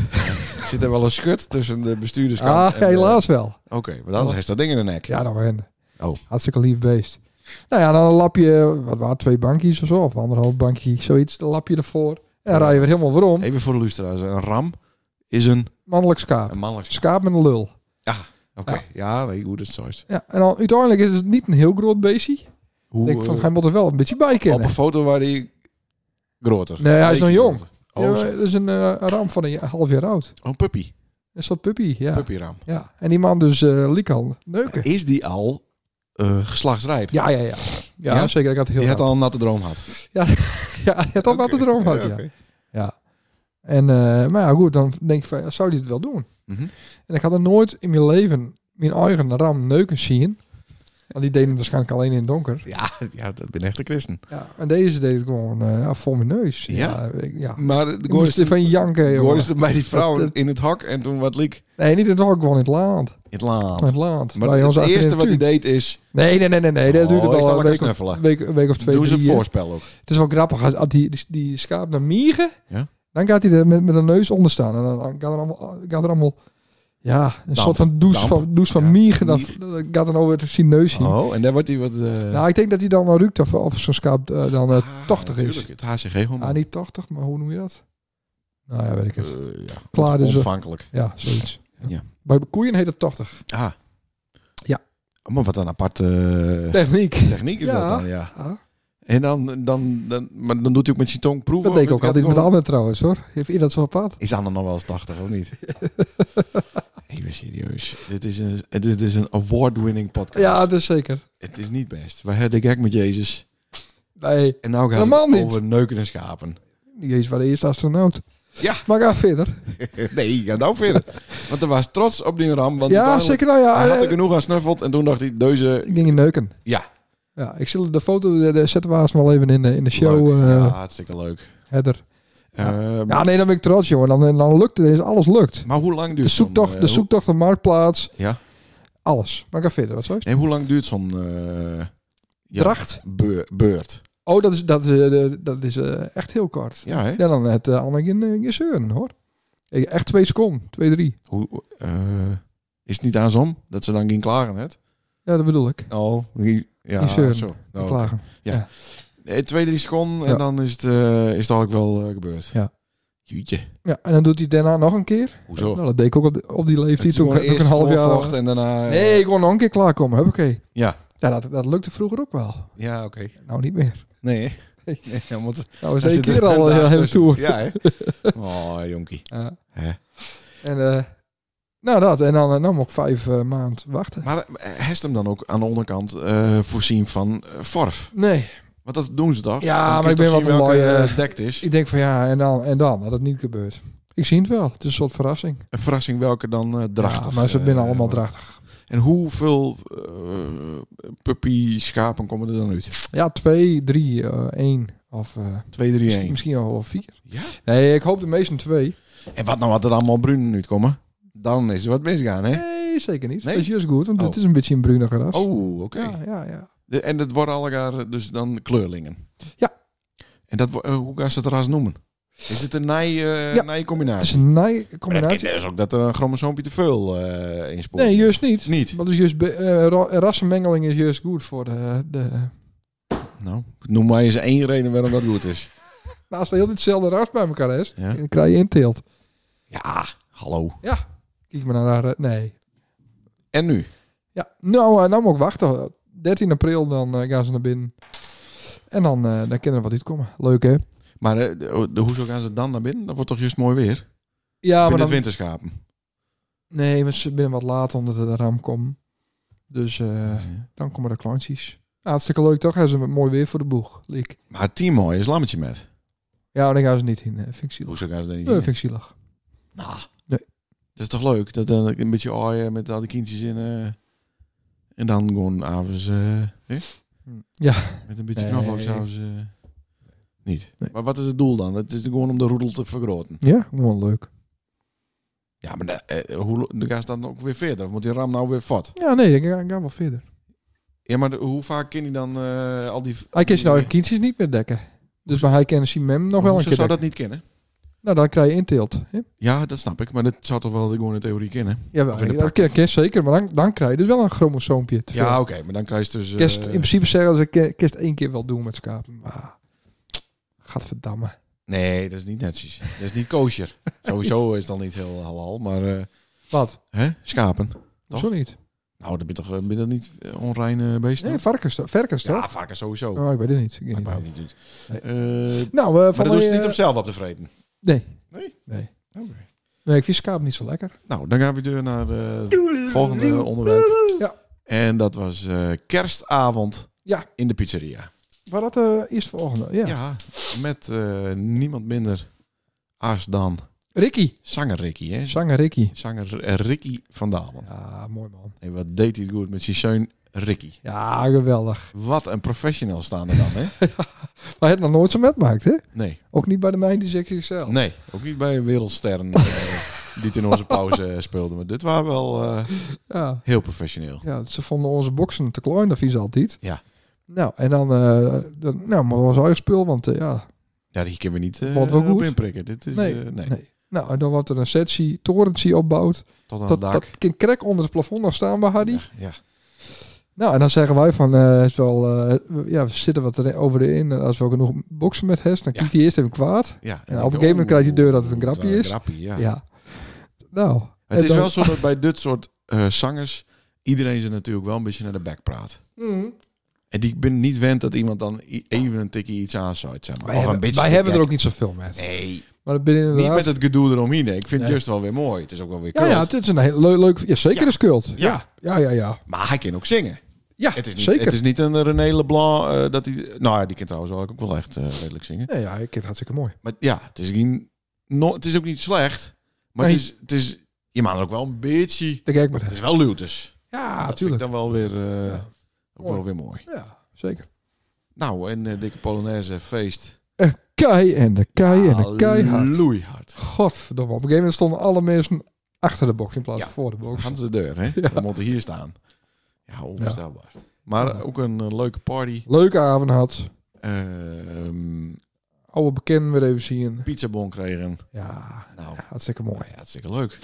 Zit er wel een schut tussen de bestuurderskant?
Ah,
en de-
helaas wel.
Oké, maar dan heeft dat ding in de nek.
Ja, dan wende.
Oh.
Hartstikke lief beest. Nou ja, dan een lapje, wat waren het, twee bankjes of zo, of anderhalf bankje, zoiets. Een lapje ervoor. En dan
Ja.
rij je weer helemaal weer om.
Even voor de luisteraars. Een ram is een,
Mannelijk schaap.
een mannelijk schaap.
Schaap met een lul.
Oké, ja, weet ik hoe dat zo is.
Ja, en dan uiteindelijk is het niet een heel groot beestje. Ik denk van,
eh,
hij moet er wel een beetje bij
op een
kennen.
foto waar hij groter.
Nee, hij is nog
Beetje
jong.
groter.
Ja,
Oh,
maar
is-
het is een eh, een ram van een ja- half jaar oud.
oh, een puppy.
Een soort puppy, ja.
Puppyram.
ja. En die man dus eh liek al neuken.
Is die al eh, geslachtsrijp?
Ja, ja, ja. Ja,
Ja?
zeker. Ik had het heel
Die had
raar.
al een natte droom gehad.
(laughs) Ja, die had al wat het erom had, ja.
oké.
En, eh, maar ja, goed, dan denk ik van, ja, zou die het wel doen?
Mhm.
En ik had er nooit in mijn leven mijn eigen ram neuken zien. Want die deden het waarschijnlijk alleen in het donker.
ja, ja, dat ben echt een christen.
Ja, en deze deed het gewoon eh, ja, voor mijn neus.
Ja?
Ja, ik- ja.
Maar de
Ik moest ervan janken, jongen.
Goor is er bij die vrouw
Dat- eh,
in het hok en toen wat liek.
Nee, niet in het hok, gewoon in het land.
In het laand.
In het Nou, land.
Maar
Bij ons
het
achter in
eerste
de
wat hij
tuin.
deed is...
Nee, nee, nee, nee. nee. Dat
Oh,
duurt
is dat
al
lekker
een week, of-
knuffelen?
week, week of twee,
doe ze een
drie. eh.
voorspel ook.
Het is wel grappig. Als, als die, die, die schaap naar mieren,
Ja.
dan gaat hij er met, met een neus onder staan. En dan gaat er allemaal, gaat er allemaal ja, een soort van
damp.
douche van, douche van
Ja,
mieren. Dat,
mier.
dat gaat dan over zijn neus zien.
Oh, en daar wordt hij wat... eh,
Nou, ik denk dat hij dan wel ruikt of, of zo'n schaap eh, dan eh,
ah,
80
natuurlijk,
is.
Het HCG gewoon.
Ah, niet 80, maar hoe noem je dat? Nou ja, weet ik het.
Eh, ja,
Klaar dus,
ont-
is er.
ontvankelijk.
ja, zoiets.
Ja.
Bij koeien heet het 80.
Ah.
Ja.
Oh, Maar wat een aparte eh,
Techniek. Ah,
techniek is dat
Ja.
dan, ja.
Ja.
En dan, dan, dan, maar dan doet hij ook met zijn tong proeven.
Dat deed ik ook altijd met de
al.
anderen trouwens hoor. Heeft ieder dat zo op pad?
Is Anne nog wel eens 80 of
(laughs)
niet? Even serieus. Dit is een, dit is een award-winning podcast.
Ja, dat is zeker.
Het is niet best. We hadden gek met Jezus.
Nee,
En nou gaat
Helemaal
het
niet.
over neuken en schapen.
Jezus was de eerste astronaut.
Ja.
Maar ga verder.
(laughs) nee, ga nou verder. Want er was trots op die ram. Want
ja,
uiteindelijk-
zeker nou ja.
Hij had er
eh,
genoeg aan snuffeld en toen dacht hij, deze...
Ik denk in neuken.
Ja.
Ja, ik zal de foto de, de zetten we haast wel even in de, in de show.
leuk.
eh
ja, hartstikke leuk.
header.
Ehm,
Ja, nee, dan ben ik trots jongen. Dan, dan lukt het. Dus alles lukt.
Maar hoe lang
De
duurt
zoektocht,
zo'n,
de
eh, hoe-
zoektocht naar marktplaats.
Ja.
Alles. Maar ga verder. Wat zo is?
Nee, hoe lang duurt zo'n... eh, ja,
Dracht.
beur- beurt.
Oh, dat is, dat, is, eh, de- dat is eh, echt heel kort. Ja,
Ja, hè?
dan het uh, Anne in eh, in zeuren hoor. Ik- Echt twee seconden. Twee, drie.
Hoe, eh, is het niet aan som dat ze dan geen klagen het?
Ja, dat bedoel ik.
Oh, die- ja,
Niet zeuren.
zo. Nou,
Klagen.
Eh, twee, drie seconden en
Ja.
dan is het, eh, is het eigenlijk wel eh, gebeurd.
Ja.
Jeetje,
Ja, en dan doet hij daarna nog een keer.
hoezo?
Nou, dat deed ik ook op, die- op die
Het is
leeftijd. Toen
gewoon
ik ook een
eerst
half jaar...
voorvocht en daarna... eh,
Nee, ik wil nog een keer klaarkomen. Huppakee.
Ja.
Ja, dat, dat lukte vroeger ook wel.
Ja, oké.
Nou, niet meer.
Nee, hè?
Nee.
nee. want er
Nou, is één
zit
keer
een
al
dag
heel hele
tussen.
tour.
Ja, hè? Oh, jonkie.
Ja.
Hè?
En, eh, nou, dat. En dan, eh, dan moet ik vijf eh, maand wachten.
Maar eh, heeft hem dan ook aan de onderkant eh, voorzien van eh, verf?
Nee.
Want dat doen ze toch?
Ja,
Dan
maar ik
kun je
ben
toch
wel
zien
van
welke,
laie-
eh, dekt is.
Ik denk van ja, en dan, en dan dat het niet gebeurt. Ik zie het wel. Het is een soort verrassing.
Een verrassing welke dan eh, drachtig.
Ja, maar ze
eh,
binnen allemaal
wordt.
drachtig.
En hoeveel eh puppy schapen komen er dan uit?
Ja, twee, drie, eh, één. Of eh,
Twee, drie,
misschien,
één.
misschien al wel vier.
Ja?
Nee, ik hoop de meesten twee.
En wat nou wat er allemaal bruinen uitkomen? Dan is er wat misgaan, hè?
Nee, zeker niet.
Nee?
Dat is juist goed, want
Oh.
het is een beetje een brunige ras.
Oh, oké.
Ja, ja, ja.
De- En dat worden allemaal dus dan kleurlingen.
Ja.
En dat, wo- eh, hoe gaan ze het ras noemen? Is het een nij, eh,
Ja.
nij
Het is
combinatie?
een nij
Maar dat
combinatie.
is ook dat er een chromosoompje te veel eh in spoort.
Nee, juist niet.
Niet?
Want dus juist be- eh, ra- rassenmengeling is juist goed voor de... de
Nou, noem maar eens één reden waarom dat goed is.
nou, als de hele tijd hetzelfde ras bij elkaar is,
Ja.
dan krijg je inteelt.
Ja, hallo.
Kijk maar naar haar... Nee.
En nu?
Ja, nou, eh, nou moet ik wachten. 13 april, dan eh, gaan ze naar binnen. En dan, eh, dan kunnen er wat uitkomen. Leuk, hè?
Maar eh, de, de- hoezo gaan ze dan naar binnen? Dat wordt toch juist mooi weer?
Ja,
Binnen
maar dan...
het winterschapen.
Nee, want ze binnen wat laat omdat het raam komt. Dus eh, dan komen de klantjes. Ja, hartstikke leuk toch? Hij is een mooi weer voor de boeg. Leek.
Maar Timo is lammetje met.
Ja, maar dan gaan ze niet in. eh, Vind ik zielig.
Hoezo gaan ze dat niet
Nee,
doen?
vind ik zielig.
Nou,
Nee.
dat is toch leuk? Dat dan een beetje aaien met al die kindjes in. eh, en dan gewoon avonds. eh, hè?
Ja,
met een beetje
Nee.
knoflook s'avonds. eh, niet.
Nee.
Maar wat is het doel dan? Het is gewoon om de roedel te vergroten.
ja, gewoon leuk.
Ja, maar da- eh, hoe lo- dan gaan ze dan ook weer verder? Of moet die ram nou weer vat?
Ja, nee, ik ga, ik ga wel verder.
Ja, maar de- hoe vaak kan hij dan eh, al die...
Hij kan ze nou kindjes niet meer dekken. Dus maar hij kan zijn mem nog wel een
Hoezo
keer
zou
dekken.
dat niet kennen?
Nou, dan krijg je inteelt. Hè?
Ja, dat snap ik. Maar dat zou toch wel gewoon in theorie kennen?
Jawel,
Of in de
dat kan, kan zeker. Maar dan, dan krijg je dus wel een chromosoompje te veel.
Ja, oké. maar dan krijg je dus... eh, Ah.
Kerst, in principe zeggen ze, ke- kerst één keer wel doen met schapen. Maar, gadverdamme.
Nee, dat is niet netjes. Dat is niet kosher.
(laughs)
Sowieso is het dan niet heel halal, maar... eh,
Wat?
hè? Schapen. Toch?
Zo niet.
Nou, dan ben je toch ben je dat niet eh, onreine beesten?
Nee, varkens, toch? verkens toch?
ja, varken sowieso.
Oh, ik weet het niet. Ik weet
dat
niet.
wou ik niet doen.
Nee.
Eh,
Nou, eh,
maar dat
van
doen
mij,
ze niet
eh,
om zelf op te vreten.
Nee.
Nee?
Nee. Nee, ik vind schaap niet zo lekker.
Nou, dan gaan we door naar eh, het volgende onderwerp.
Ja.
En dat was eh, kerstavond
Ja.
in de pizzeria.
Maar dat eh is volgende. Ja.
Ja, met eh, niemand minder als dan
Ricky.
zanger Ricky. Hè?
Zanger Ricky.
Zanger eh, Ricky van Dalen.
Ja, mooi man.
En wat deed hij het goed met zijn zoon Ricky.
Ja, geweldig.
Wat een professional staan er dan, hè?
Maar hij heeft nog nooit zo met maakt, hè?
Nee,
Ook niet bij de 90 XXL.
nee. Ook niet bij wereldsterren
(laughs)
eh, die het in onze pauze eh, speelden. Maar dit waren wel eh,
Ja.
heel professioneel.
ja, ze vonden onze boksen te klein, dat vies altijd.
Ja.
Nou, en dan, eh dan nou, maar dat was eigen spul, want eh, ja,
Ja, die kunnen we niet eh
Wordt wel
op
goed.
inprikken. Dit is,
Nee,
eh, nee.
nee. Nou, en dan wordt er een setje, torentje opbouwd.
Tot aan
Dat,
het dak.
dat kan krek onder het plafond nog staan bij Hardy.
Ja.
Nou, en dan zeggen wij van, eh, is wel, eh, we- ja, we zitten wat er over de in. Als we ook genoeg boksen met Hest, dan
Ja.
kijkt hij eerst even kwaad.
Ja, en
op een
ik-
gegeven moment krijgt die deur dat het een
oeh,
grapje
wel
is.
grappie, ja.
Ja. Nou.
Het
en
is
dan-
wel zo dat bij dit soort eh, zangers iedereen ze natuurlijk wel een beetje naar de bek praat.
Mm.
En die ben niet wend dat iemand dan i- even een tikje iets aanzuigt, zeg maar.
Wij,
of
hebben,
een beetje
wij
te
hebben er
gek.
ook niet zoveel met.
Nee,
Maar dat binnen
niet
inderdaad...
met het gedoe eromheen. hè. Ik vind
Nee.
het juist wel weer mooi. Het is ook wel weer
ja, ja,
kult.
het is een heel leuk... leuk ja, zeker
Ja.
is kult.
Ja.
Ja, ja, ja.
Maar hij kan ook zingen.
Ja,
Het is niet,
zeker.
Het is niet een René Leblanc eh, dat hij... Nou ja, die kan trouwens wel ook wel echt eh, redelijk zingen.
Nee, ja, ik vind het hartstikke mooi.
Maar ja, het is, geen, no, het is ook niet slecht. Maar
Nee.
het, is, het is... Je maakt er ook wel een beetje...
De kijk maar.
Het is wel luw dus.
Ja,
dat vind ik
natuurlijk.
dan wel weer, eh,
Ah, Ja.
ook wel weer mooi.
Ja, zeker.
Nou, en eh dikke Polonaise feest.
Kei en de kei en Ah, de keihard.
Loeihard.
Godverdomme. Op een gegeven moment stonden alle mensen achter de box in plaats
Ja.
van voor de box.
Gaan ze de deur,
(laughs)
hè? We moeten hier staan. Ja, onvoorstelbaar. Maar
Ja.
ook een eh, leuke party.
Leuke avond had.
Ehm
Oude bekenden weer even zien.
pizzabon kregen.
Ja,
Nou,
hartstikke mooi.
ja, hartstikke leuk.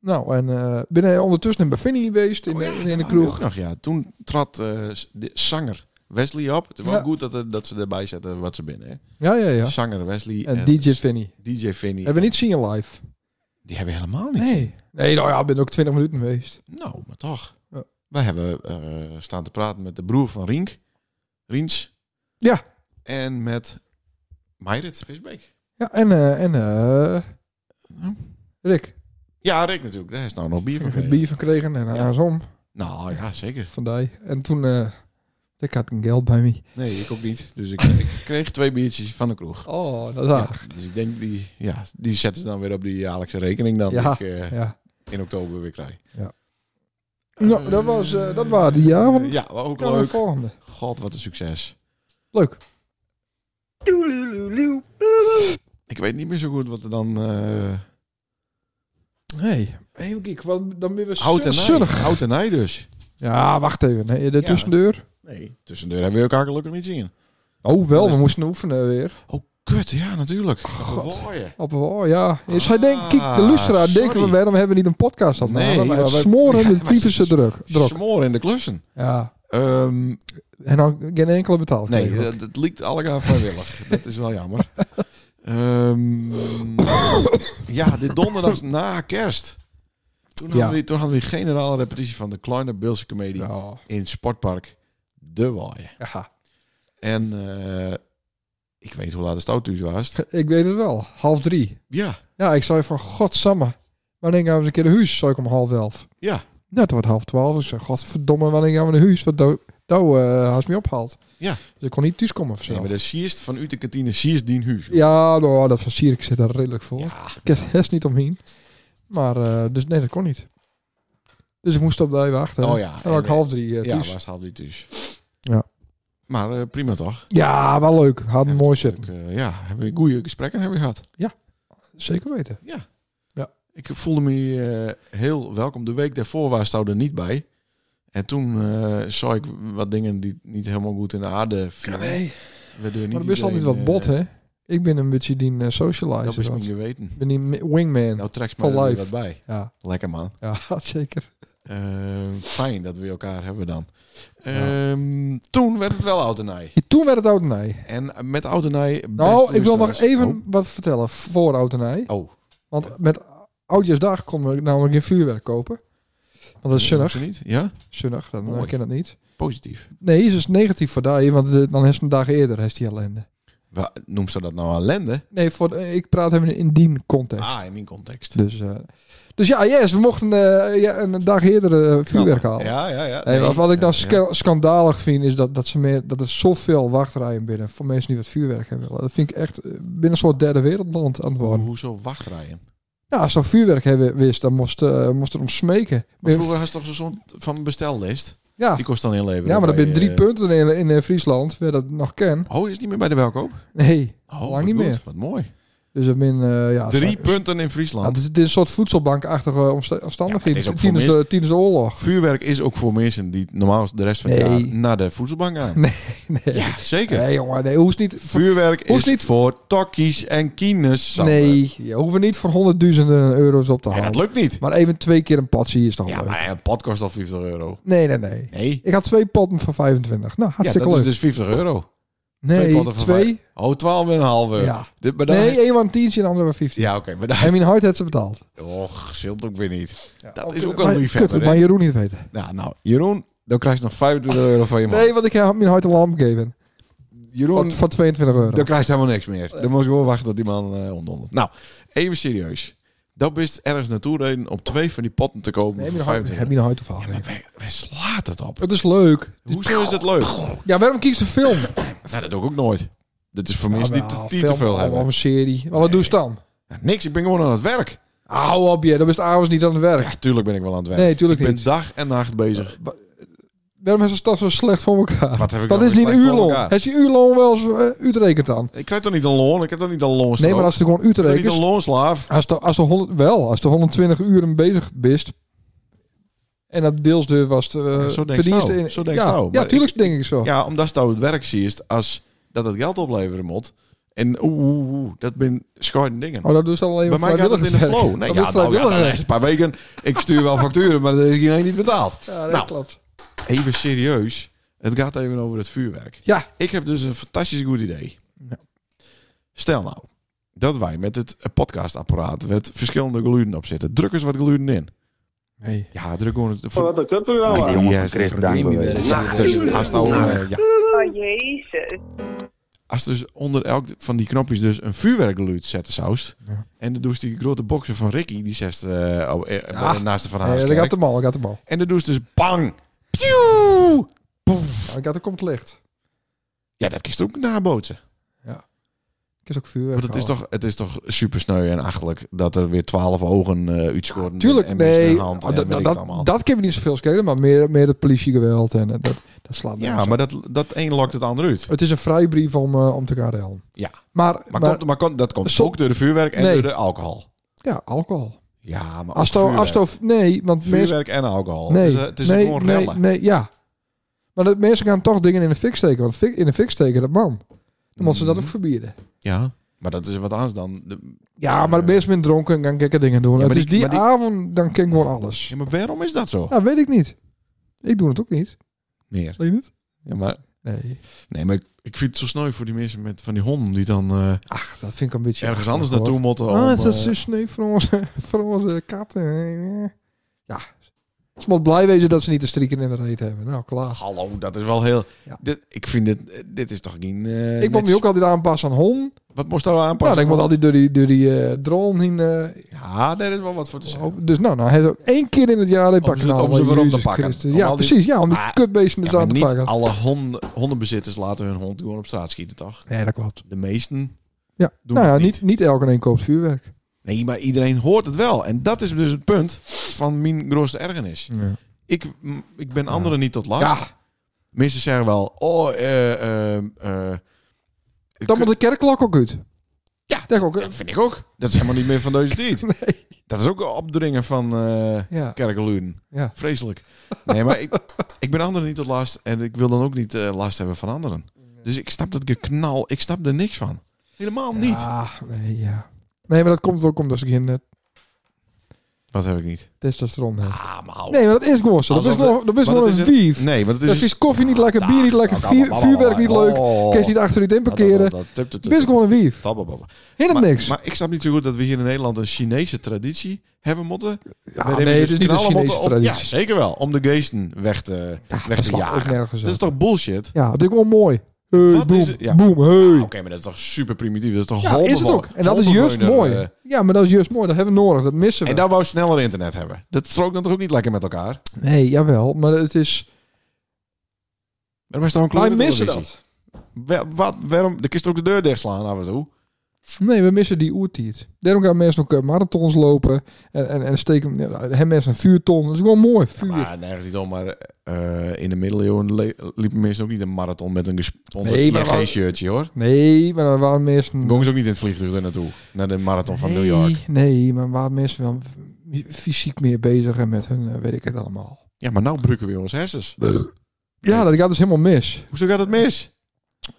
Nou, en eh
Oh
ben je ondertussen bij Vinnie geweest in, de- in, in de
Ah, die
kroeg.
ook nog, ja. Toen trad eh, de zanger Wesley op. Het is wel
Ja.
goed dat, er- dat ze erbij zetten wat ze binnen. Hè?
Ja, ja, ja.
Zanger Wesley
En DJ Vinny.
DJ Vinny.
Hebben we niet zien live?
Die hebben we helemaal niet.
Nee. Nee, nou ja, ik ben ook 20 minuten geweest.
Nou, maar toch.
Ja.
Wij hebben eh, staan te praten met de broer van Rienk. Riens.
Ja.
En met Meirit Visbeek. Hm?
Ja, en, eh, en eh, Rick.
Ja, Rick natuurlijk. Daar is nou nog bier van
Ik heb
gekregen.
bier verkregen en eh,
Ja.
andersom.
Nou ja, zeker.
Van die. En toen, eh, ik had geen geld bij me.
Nee, ik ook niet. Dus ik, ik kreeg twee biertjes van de kroeg.
Oh, dat is
Ja,
aardig.
dus ik denk, die, ja, die zetten ze dan weer op die jaarlijkse rekening dan
Ja.
die ik eh,
Ja.
in oktober weer krijg.
Ja. Nou, dat was, eh, dat waren die jaren.
Ja, wel ook
Dan de
leuk.
volgende.
God, wat een succes.
Leuk.
Ik weet niet meer zo goed wat er dan... eh
Nee. Even kijken, want dan ben we
hout en
zo-
nij.
zonnig.
Hout en nij dus.
Ja, wacht even. Nee, de
Ja.
tussendeur.
Nee. Tussendoor hebben we elkaar gelukkig niet zingen.
Oh, wel.
Dat
We
is-
moesten oefenen weer.
Oh, kut. Ja, natuurlijk.
God.
Wat hoor je?
Op, oh, ja. Dus hij denkt, kijk, de
Ah,
luisteraar denken we,
sorry.
waarom hebben we niet een podcast opgenomen?
Nee,
maar
ja,
we
wij-
(laughs) smoren
ja,
de
wij-
typische druk. druk.
Smoor in de klussen.
Ja.
Ehm,
En dan geen enkele betaald.
nee,
kreeg.
dat, dat liekt allemaal (laughs) vrijwillig. dat is wel jammer. (coughs) Ehm, ja, dit donderdag na kerst. Toen,
Ja.
hadden we, toen hadden we een generale repetitie van de kleine Beelse Comedie
Ja.
in Sportpark De Waaien.
Ja.
En eh, ik weet niet hoe laat de stout thuis (laughs) was.
Ik weet het wel. Half drie.
Ja,
Ja, ik zei van, godsamme. Wanneer gaan we eens een keer naar huis? Zou ik om half elf.
ja,
Nou, toen wordt half twaalf. Ik zei, godverdomme, wanneer gaan we naar huis? Wat nou nou, eh had ze me opgehaald.
Ja.
Dus ik kon niet thuiskomen of zo.
nee, maar de sierst van u de kantine, sierst dien huus.
Ja, nou, dat van Sierik zit er redelijk voor.
Ja,
Ik heb het niet omheen. Maar, eh, dus nee, dat kon niet. Dus ik moest op de wachten.
Oh ja,
En dan
en,
ook
eh,
half drie eh,
ja,
thuis. Ja,
was half niet thuis.
Ja.
Maar eh, prima toch?
wel leuk. Had een mooi set.
Ik, eh, ja, hebben we goede gesprekken hebben we gehad.
Zeker weten.
Ik voelde me eh, heel welkom. De week daarvoor was Stouw er niet bij. En toen eh, zag ik wat dingen die niet helemaal goed in de aarde vielen. We doen niet
Maar er is altijd wat
iedereen,
bot,
eh,
hè? Ik ben een beetje die eh,
Dat is
socializer.
niet
Ik
weten.
ben die mi- wingman.
Nou, trek
For
maar er weer
life.
wat bij.
Ja,
Lekker man.
ja,
(laughs)
zeker.
Eh, fijn dat we elkaar hebben dan.
Ja.
Ehm, toen werd het wel Oudenij.
Ja, Toen werd het Oudenij.
En met Oudenij...
Nou,
beste
ik wil nog
luisteraars-
even wat vertellen voor Oudenij.
Oh, oh.
Want met Oudjaarsdag konden we namelijk geen vuurwerk kopen. Want dat is
Hoeft
zonnig.
ze niet? Ja?
Zonnig, dan
Mooi.
eh, ken dat niet.
Positief.
Nee, is dus negatief voor daar, want eh, dan is een dag eerder is die ellende.
Wa- Noemt ze dat nou ellende?
Nee, voor, eh, ik praat hem in die context.
Ah, in mijn context.
Dus, eh, dus ja, yes, we mochten eh, ja, een dag eerder eh, vuurwerk halen.
Ja, ja, ja.
Nee,
Nee,
wat- wat ik dan
ja, ja.
sca- schandalig vind, is dat, dat, ze meer, dat er zoveel wachtrijen binnen voor mensen die wat vuurwerk hebben willen. Dat vind ik echt eh, binnen een soort derde wereldland aan het worden.
Hoe- Hoezo wachtrijen?
Ja, als ze vuurwerk hebben wist, dan moest, eh, moest er om smeken. Eh,
Maar vroeger had je toch zo'n van bestellist?
ja,
Die kost dan heel even.
ja, maar dat
bij,
ben drie
eh,
punten in, in eh, Friesland, waar dat nog ken. (laughs)
Oh, is het niet meer bij de welkoop?
Nee,
Oh,
Lang
wat
niet
goed,
meer.
Wat mooi.
dus dat ben eh, ja,
drie
zo-
punten in
Ja,
Friesland.
het, is, het is een soort voedselbankachtige omsta-
Ja, maar het
omstandigheden.
is ook voor
tijdens, de, tijdens de oorlog. (laughs)
Vuurwerk is ook voor mensen die normaal de rest van het
Nee.
jaar naar de voedselbank gaan.
Nee,
Ja, zeker.
nee jongen, nee, hoeft niet.
Vuurwerk
Hoeft
is
niet-
niet voor tokkies en kines. Sander.
Nee, je hoeft er niet voor honderdduizenden euro's op te
En
halen.
dat lukt niet.
maar even twee keer een patsie is toch
Ja,
Oh, leuk?
maar een pot kost al 50 euro.
Nee, nee, nee.
Nee.
Ik had twee potten van 25. Nou,
Ja,
hartstikke
dat is
leuk.
dus 50 euro. twee
nee,
potten van
twee.
Oh, 12,5 euro.
Ja.
Dit- maar dan
Nee,
is-
één was een tientje en de andere was 15.
Ja, oké. maar daar
En
is...
mijn huid had ze betaald.
Och, scheelt ook weer niet.
Ja,
Dat
oh,
is
kut,
ook een
maar-
liefhebber,
Kut,
hè?
maar Jeroen niet weten.
Nou, nou, Jeroen, dan krijg je nog 25 euro van je man.
Nee, want ik heb mijn huid een lamp gegeven.
Jeroen,
Van, van 22 euro.
dan krijg je helemaal niks meer. Dan moet je gewoon wachten tot die man eh onderdond. Nou, even serieus. Dat is ergens naartoe reden om twee van die potten te kopen.
Nee,
voor
mijn huid,
25.
heb je een huid of
Ja, maar wij, wij slaat het op.
Het is leuk.
Hoezo is dat leuk?
Ja, waarom kies je een film?
Nou, dat doe ik ook nooit. Dit is voor mensen die te,
Nou,
die te
film
veel
of
hebben.
een serie. Maar wat doe je dan?
Ja, niks, ik ben gewoon aan het werk.
Hou op je, dan is het avonds niet aan het werk.
Ja, tuurlijk ben ik wel aan het werk.
Nee, tuurlijk
ik ben
niet.
dag en nacht bezig.
Waarom is de stad zo slecht voor elkaar?
Wat heb ik
Dat
dan
is
weer
niet een
slecht voor
uurloon.
elkaar?
Is die uurloon wel eens eh, uitrekend dan?
Ik krijg toch niet een loon? Ik heb toch niet een loonstrook?
Nee, maar als het gewoon
Ik ben niet
uitrekent...
een loonslaaf.
Als de, als de 100, wel, als de 120 uren bezig bist... En dat deels de was de
Ja,
eh,
zo denkt
verdienste
Stouw.
in.
Zo denkt
ja,
Stouw.
ja,
Maar
tuurlijk denk ik zo.
Ja, omdat je het werk ziet als dat het geld opleveren moet. En oeh, oeh, oeh, dat ben schoorende dingen.
Oh, dat doe ze dan alleen
Bij mij gaat het in de
vrijwilligerswerk.
flow. Nee,
Dat
ja,
is
nou, ja, de
vrijwilligerswerk.
laatste paar weken. Ik stuur wel facturen, maar dat is iedereen niet betaald.
Ja, dat
Nou.
klopt.
Even serieus. Het gaat even over het vuurwerk.
Ja.
Ik heb dus een fantastisch goed idee.
Ja.
Stel nou dat wij met het eh, podcastapparaat met verschillende geluiden op zitten. Druk eens wat geluiden in.
Nee.
Ja, druk gewoon het.
Oh, Wat een kut er
Ja,
nou aan?
die
jongen
is
kreeg
er
dankbewijs.
niet meer.
Nacht.
Dus als nou, eh, ja,
Oh jezus.
als dus onder elk van die knopjes dus een vuurwerkgeluid zetten zoust.
Ja.
En dan doet die grote boxer van Ricky, die zegt eh, op- eh,
Ah.
naast de Van
Nee, dat
Haaskerk.
gaat de mal, dat gaat de mal.
En dan doet ze dus bang. Pjoe! Poef.
Nou, Dat gaat er komt licht.
Ja, dat kist ook nabootsen.
Het is ook vuurwerk.
Want het is
halen.
toch, het is toch super sneu en achterlijk dat er weer twaalf ogen eh uitscoren.
Tuurlijk,
en
nee.
Een hand
Oh, dat,
en weet
nou,
ik het allemaal.
dat, dat kunnen we niet zoveel schelen, maar meer, meer het politiegeweld en eh, dat, dat slaat
ja,
nergens op.
maar dat, dat een lokt het ander uit.
Het is een vrijbrief om, eh, om te gaan rellen.
Ja.
Maar,
Maar,
maar,
komt, maar komt, dat komt
Zo-
ook door de vuurwerk en
Nee.
door de alcohol.
ja, alcohol.
Ja, maar ook
Asto,
vuurwerk.
asto, nee, want mensen...
vuurwerk en alcohol.
Nee,
Oh, het is, eh, het is
nee,
gewoon
nee,
rellen.
nee, ja. Maar dat, mensen gaan toch dingen in de fik steken. Want fik- in de fik steken, dat man. Dan moeten ze dat ook
Mm.
verbieden.
Mhm. Ja, maar dat is wat anders dan... De...
Ja, maar mensen zijn dronken gaan gekke dingen doen.
Ja, maar
het is
die-
die,
maar die-
avond, dan ken ik gewoon alles.
Ja, maar waarom is dat zo?
Nou, weet ik niet. Ik doe het ook niet.
Meer.
Weet je het?
Ja, maar,
Nee.
nee, maar ik, ik vind het zo sneu voor die mensen met van die honden die dan eh,
Ach, dat vind ik een beetje...
ergens anders naartoe moeten. om,
Ah, het
eh,
is een sneu voor onze, (laughs) voor onze katten. Ja. Ze moet blij wezen dat ze niet de strieken in de reet hebben. Nou, klaar.
Hallo, dat is wel heel.
Ja.
Dit, ik vind dit, dit is toch geen. eh,
Ik moet me
netjes-
ook altijd aanpassen aan hon.
Wat moest daar wel
Nou,
aanpassen?
dan moet altijd door die, door die eh, drone heen... eh,
Ja, daar is wel wat voor te zeggen.
Oh, dus nou, nou hij heeft ook één keer in het jaar alleen
Om ze-
pakken. Nou,
om ze weer op te
Jezus
pakken.
Christus.
Om
Ja,
al die-
precies. Ja, om die
Maar-
kutbeesten
Ja,
er
maar
aan te
niet
pakken.
alle honden, hondenbezitters laten hun hond gewoon op straat schieten, toch?
Nee, dat klopt.
De meesten.
Ja.
Doen
nou ja,
het
niet,
niet.
niet, elke een koopt vuurwerk.
Nee, maar iedereen hoort het wel. En dat is dus het punt van mijn grootste ergernis.
Ja.
Ik, m- ik ben anderen niet tot last. Mensen zeggen wel, oh, eh, eh, eh,
Dan
kun-
moet de kerkklok ook uit.
Ja,
Denk ook.
dat vind ik ook. Dat is helemaal niet meer van deze
(laughs)
tijd. Dat is ook een opdringen van... eh,
Ja.
kerkeluden.
Ja.
Vreselijk. Nee, maar ik, ik ben anderen niet tot last en ik wil dan ook niet eh, last hebben van anderen. Dus ik snap dat geknal, ik snap er niks van. Helemaal niet.
Ja, Ah, nee, ja. Nee, maar dat komt ook omdat ze geen eh,
Wat heb ik niet?
testosteron heeft.
Ah, maar hou-
Nee, maar dat is gewoon zo. Dat is
Alsof
gewoon, dat is
want
gewoon
het
een
is
wief.
Nee, want het
Dat
is...
is koffie niet lekker, bier niet lekker,
Ah,
vuur-
blablabla.
vuurwerk niet leuk.
Oh.
Kun je niet achteruit in parkeren.
Dat- dat- dat- dat-
Het is gewoon een wief.
Blablabla.
Helemaal
Maar,
niks.
maar ik snap niet zo goed dat we hier in Nederland een Chinese traditie hebben moeten.
Ja,
Waarin we
nee,
dus
het is niet een
knallen
Chinese
moeten om-
traditie. Ah,
Ja, zeker wel. Om de geesten weg te, weg
dat
te
slaat ook
jagen.
nergens
Dat is
op.
toch bullshit?
Ja, het is gewoon mooi. Hey,
Wat
boom,
is het? Ja.
boom, hey.
Oké, maar dat is toch super primitief. Dat is toch
Ja,
halve
is het
vol-
ook. En dat is
halve
juist
beuner,
mooi.
eh,
ja, maar dat is juist mooi. Dat hebben we nodig. Dat missen we.
En daar wou sneller internet hebben. Dat strookt dan toch ook niet lekker met elkaar?
Nee, jawel. Maar het is...
Waarom is daar een
Wij
kleine
missen
televisie?
dat.
Wa- Wat? Waarom? De kist ook de deur dichtslaan af en toe.
Nee, we missen die oertiert. Daarom gaan mensen ook eh, marathons lopen. En, en, en steken... Ja, hebben mensen een vuurton. Dat is gewoon mooi. Vuur.
Maar nergens niet om. Maar eh, in de middeleeuwen le- liepen mensen ook niet een marathon met een gesponsord
Nee, maar wel-
ING-shirtje hoor.
Nee, maar dan waren mensen...
Gongen ze ook niet in het vliegtuig er naartoe. Naar de marathon van
nee,
New York.
Nee, maar waren mensen wel f- fysiek meer bezig en met hun... eh, weet ik het allemaal.
Ja, maar nou brukken we weer onze hersens.
Ja, dat gaat dus helemaal mis.
Hoezo gaat het mis?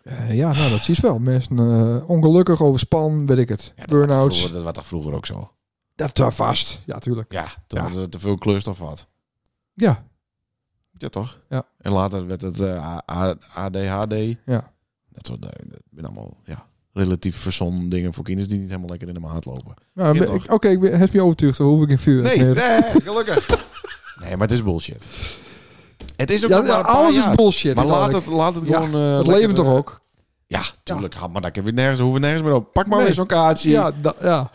Eh, ja, nou, dat zie je wel. Mensen eh, ongelukkig, overspan, weet ik het.
Ja, dat was toch
Burnouts.
vroeger- Dat was toch vroeger ook zo?
Dat daar vast. Ja, tuurlijk.
Ja, toen
Ja.
hadden ze te veel kleurstof had.
Ja,
Ja, toch?
Ja.
En later werd het eh, A- A- ADHD.
Ja.
Dat soort dingen. Dat zijn allemaal ja, relatief verzonnen dingen voor kinderen die niet helemaal lekker in de maat lopen.
Nou,
Ja,
ben-
toch?
ik- Oké, ik ben- heb je overtuigd, dan hoef ik in vuur.
Nee,
meer.
nee, gelukkig. (laughs) nee, maar het is bullshit. Het is ook
Ja,
nog maar een paar
alles is
jaar.
bullshit.
Maar laat het,
uiteindelijk.
laat het
Ja,
gewoon... eh,
het
lekker,
leven toch
eh,
ook?
Ja, tuurlijk. Ha, maar daar kunnen we nergens, hoeven we nergens meer op. Pak maar
Nee.
weer zo'n kaartje.
Ja, da- ja.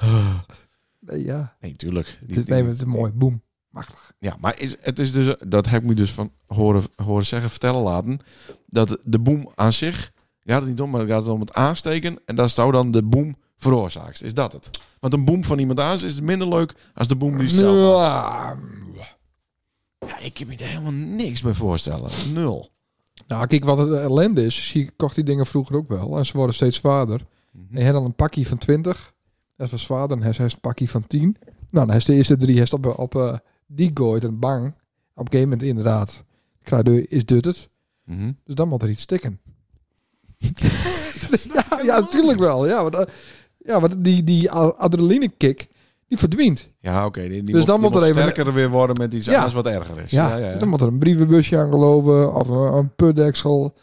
Nee, ja.
Nee, tuurlijk. Die-
Dit
die-
nee, maar het is mooi. Boom. Machtig.
Ja, maar is, het is dus, dat heb ik me dus van horen, horen zeggen, vertellen laten. Dat de boom aan zich, gaat het niet om, maar het gaat om het aansteken. En dat zou dan de boom veroorzaakt. Is dat het? Want een boom van iemand anders is minder leuk als de boom die ze zelf. had.
Ja.
Ja, ik kan me daar helemaal niks bij voorstellen. Nul.
Nou, kijk, wat het ellende is. Zie, ik kocht die dingen vroeger ook wel. En ze worden steeds zwaarder. En je hebt dan een pakje van 20. Dat was zwaarder. En hij heeft een pakje van 10. Nou, dan is de eerste drie hij is op, op eh, die gooit en bang. Op een gegeven moment inderdaad. Krijg je, is dit het?
Mhm.
Dus dan moet er iets stikken. ja, ja, natuurlijk wel. Ja, want, eh, ja, want die, die adrenaline kick, die verdwijnt.
Ja, oké. die- die
Dus
moet-
dan
die
moet er even-
sterker weer worden met iets
Ja.
anders wat erger is.
Ja, dan moet er een brievenbusje aan gelopen of een, een putdeksel.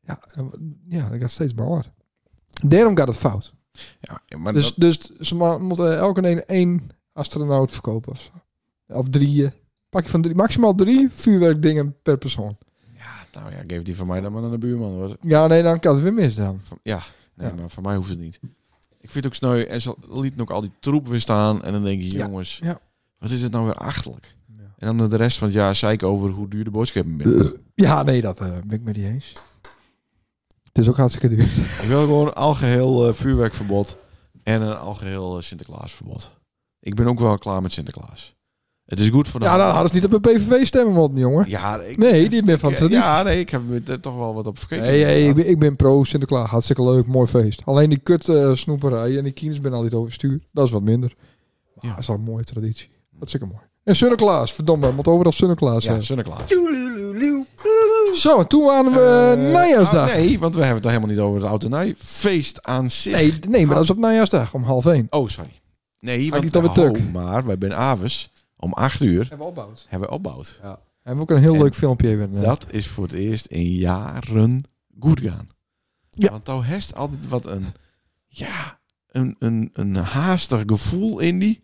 Ja, dan- ja, dat gaat steeds banger. Daarom gaat het fout.
Ja, maar
Dus,
dat-
dus ze ma- moeten elke een één astronaut verkopen. Of, zo. of drieën. Pak je van drie, maximaal drie vuurwerkdingen per persoon.
nou ja, geef die van mij dan maar aan de buurman. Hoor.
Ja, nee, dan kan het weer mis dan.
Van- ja, nee,
Ja.
maar voor mij hoeft het niet. Ik vind het ook sneu. En ze lieten ook al die troep weer staan. En dan denk je,
Ja,
jongens,
ja.
wat is het nou weer achterlijk? En dan de rest van het jaar zei ik over hoe duur de boodschappen zijn.
(laughs) Ja, nee, dat eh, ben ik met niet eens. Het is ook hartstikke duur.
Ik wil gewoon een algeheel eh, vuurwerkverbod en een algeheel eh, Sinterklaasverbod. Ik ben ook wel klaar met Sinterklaas. Het is goed voor de
Ja, dan
hand.
hadden ze niet op een PVV stemmen moeten, jongen.
Ja, ik,
Nee, die ben van
ik-
traditie.
Ja, nee, ik heb er toch wel wat op verkeken.
Nee, nee, ik,
inderdaad.
ben, ik ben pro Sinterklaas. Hartstikke leuk, mooi feest. Alleen die kut eh, snoeperij en die kines ben altijd overstuur. Dat is wat minder. Maar
Ja.
dat is wel een mooie traditie. Hartstikke mooi. En Sinterklaas, verdomme, moet overal Sinterklaas
Ja,
hebben.
Sinterklaas.
Zo, en toen waren we
Eh,
najaarsdag.
oh,
nee.
nee, want we hebben het helemaal niet over het oud en Nij. Feest aan zich.
Nee, maar dat is op najaarsdag om half één.
Oh, sorry. Nee,
ik
want eh,
niet op het
ho,
tuk?
maar wij zijn Aves om 8 uur
Hebben we opbouwd.
hebben we opbouwd.
Hebben we ook een heel
En
leuk filmpje even. eh,
Dat is voor het eerst in jaren goed gaan.
Ja.
Want nou heeft altijd wat een, ja, een, een, een haastig gevoel in die.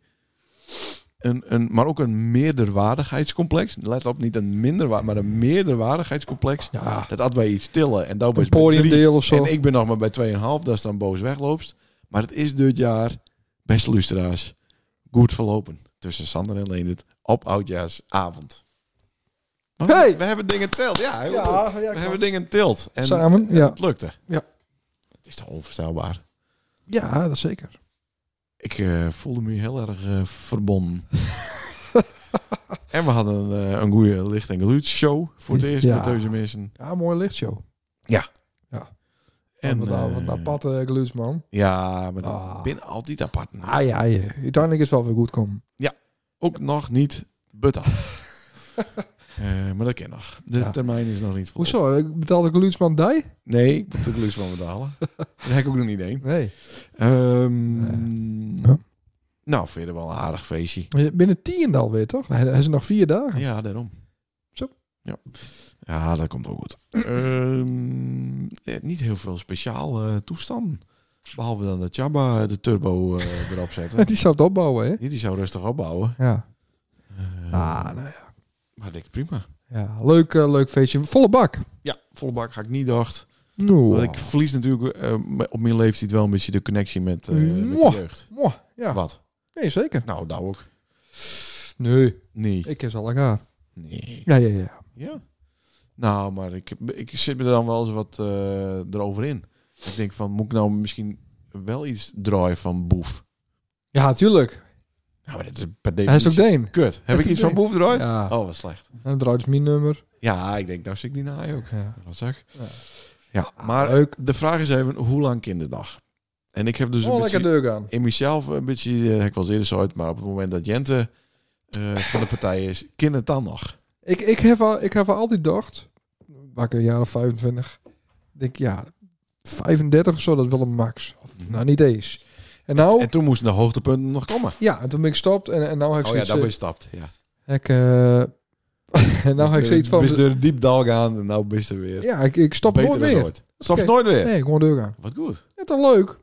Een, een, maar ook een meerderwaardigheidscomplex. Let op, niet een minderwaardig, maar een meerderwaardigheidscomplex.
Ja,
Dat had bij iets tillen en dat
een
was bij drie.
podiumdeel of zo.
En ik ben nog maar bij 2,5, dat is dan boos wegloopst. Maar het is dit jaar, beste luisteraars, goed verlopen. Tussen Sander en Leendert op oudjaarsavond. Maar we-
Hey!
We hebben dingen teld, ja. heel goed.
ja, ja,
We hebben dingen tilt. En
Samen, ja.
het lukte.
Ja.
Het is toch onvoorstelbaar.
Ja, dat zeker.
Ik eh, voelde me heel erg eh,
(laughs)
verbonden. en we hadden een, eh, een goede licht- en geluidsshow voor het eerst
Ja.
met Teuze Missen.
Ja, mooi lichtshow. En
En,
wat, nou, wat
eh,
een aparte geluidsman.
Ja, maar dat
Ah.
binnen altijd apart.
Ah ja, ja. uiteindelijk is het wel weer goed komen.
Ook nog niet betaald. (laughs) Eh, maar dat kan nog. De
Ja.
termijn is nog niet vol.
(laughs) Hoezo? Ik betaalde geluidsman die?
Nee, ik moet de geluidsman betalen. Daar heb ik ook nog niet één.
Nee.
Ehm,
Ja.
Nou, verder wel een aardig feestje.
Maar je- Binnen tien alweer, toch? Hij hij is er nog vier dagen.
Ja, daarom.
Zo.
Ja, ja dat komt ook goed. Ehm, eh, niet heel veel speciaal eh toestanden. Behalve dan dat Jabba de turbo eh, erop zetten.
(laughs) Die zou het opbouwen, hè?
Die, die zou rustig opbouwen.
Ja.
Eh,
Ah, nou ja.
Maar dikke prima.
ja. Leuk, eh, leuk feestje. Volle bak.
Ja, volle bak had ik niet dacht.
Nou.
Want ik verlies natuurlijk eh, op mijn leeftijd wel een beetje de connectie met, eh, met de
Mwah.
jeugd.
Mwah, ja.
Wat?
Nee, zeker.
Nou, nou ook.
Nee.
Nee.
Ik is al elkaar.
Nee.
Ja, ja, ja.
Ja. Nou, maar ik, ik zit me er dan wel eens wat eh, erover in. Ik denk van, moet ik nou misschien wel iets draaien van Boef?
Ja, tuurlijk.
Nou, maar dat is per
Hij is
definitie
ook Deen.
kut. Heb ik
ook
iets van
Deen.
Boef draaid?
Ja.
Oh, wat slecht.
En draait dus mijn nummer.
Ja, ik denk, nou zit ik die naai ook.
Ja.
Dat zeg ik.
Ja.
Ja, maar
Ah, leuk.
de vraag is even, hoe lang kinderdag? En ik heb dus
oh,
een
lekker
beetje,
deur gaan.
in mezelf een beetje, eh, heb ik wel eens eerder zo uit, maar op het moment dat Jente eh, van de partij is, kind het dan nog.
Ik, ik, heb al, ik heb al altijd gedacht, waar ik een jaar of 25, denk ja, 35 of zo, dat is wel een max. Of, nou, niet eens. En nou,
En toen moesten de hoogtepunten nog komen.
ja, en toen ben ik gestopt en, en nou heb ik
Oh ja,
zoiets,
daar ben
eh,
je stapt, ja.
ik, eh, (laughs) en nou heb ik zoiets van,
Bist er diep dal gaan en nou bist er weer.
ja, ik, ik stop nooit
dan
meer.
ooit. Stop
Oké.
nooit weer.
Nee, gewoon doorgaan.
Wat goed.
Ja, dan leuk.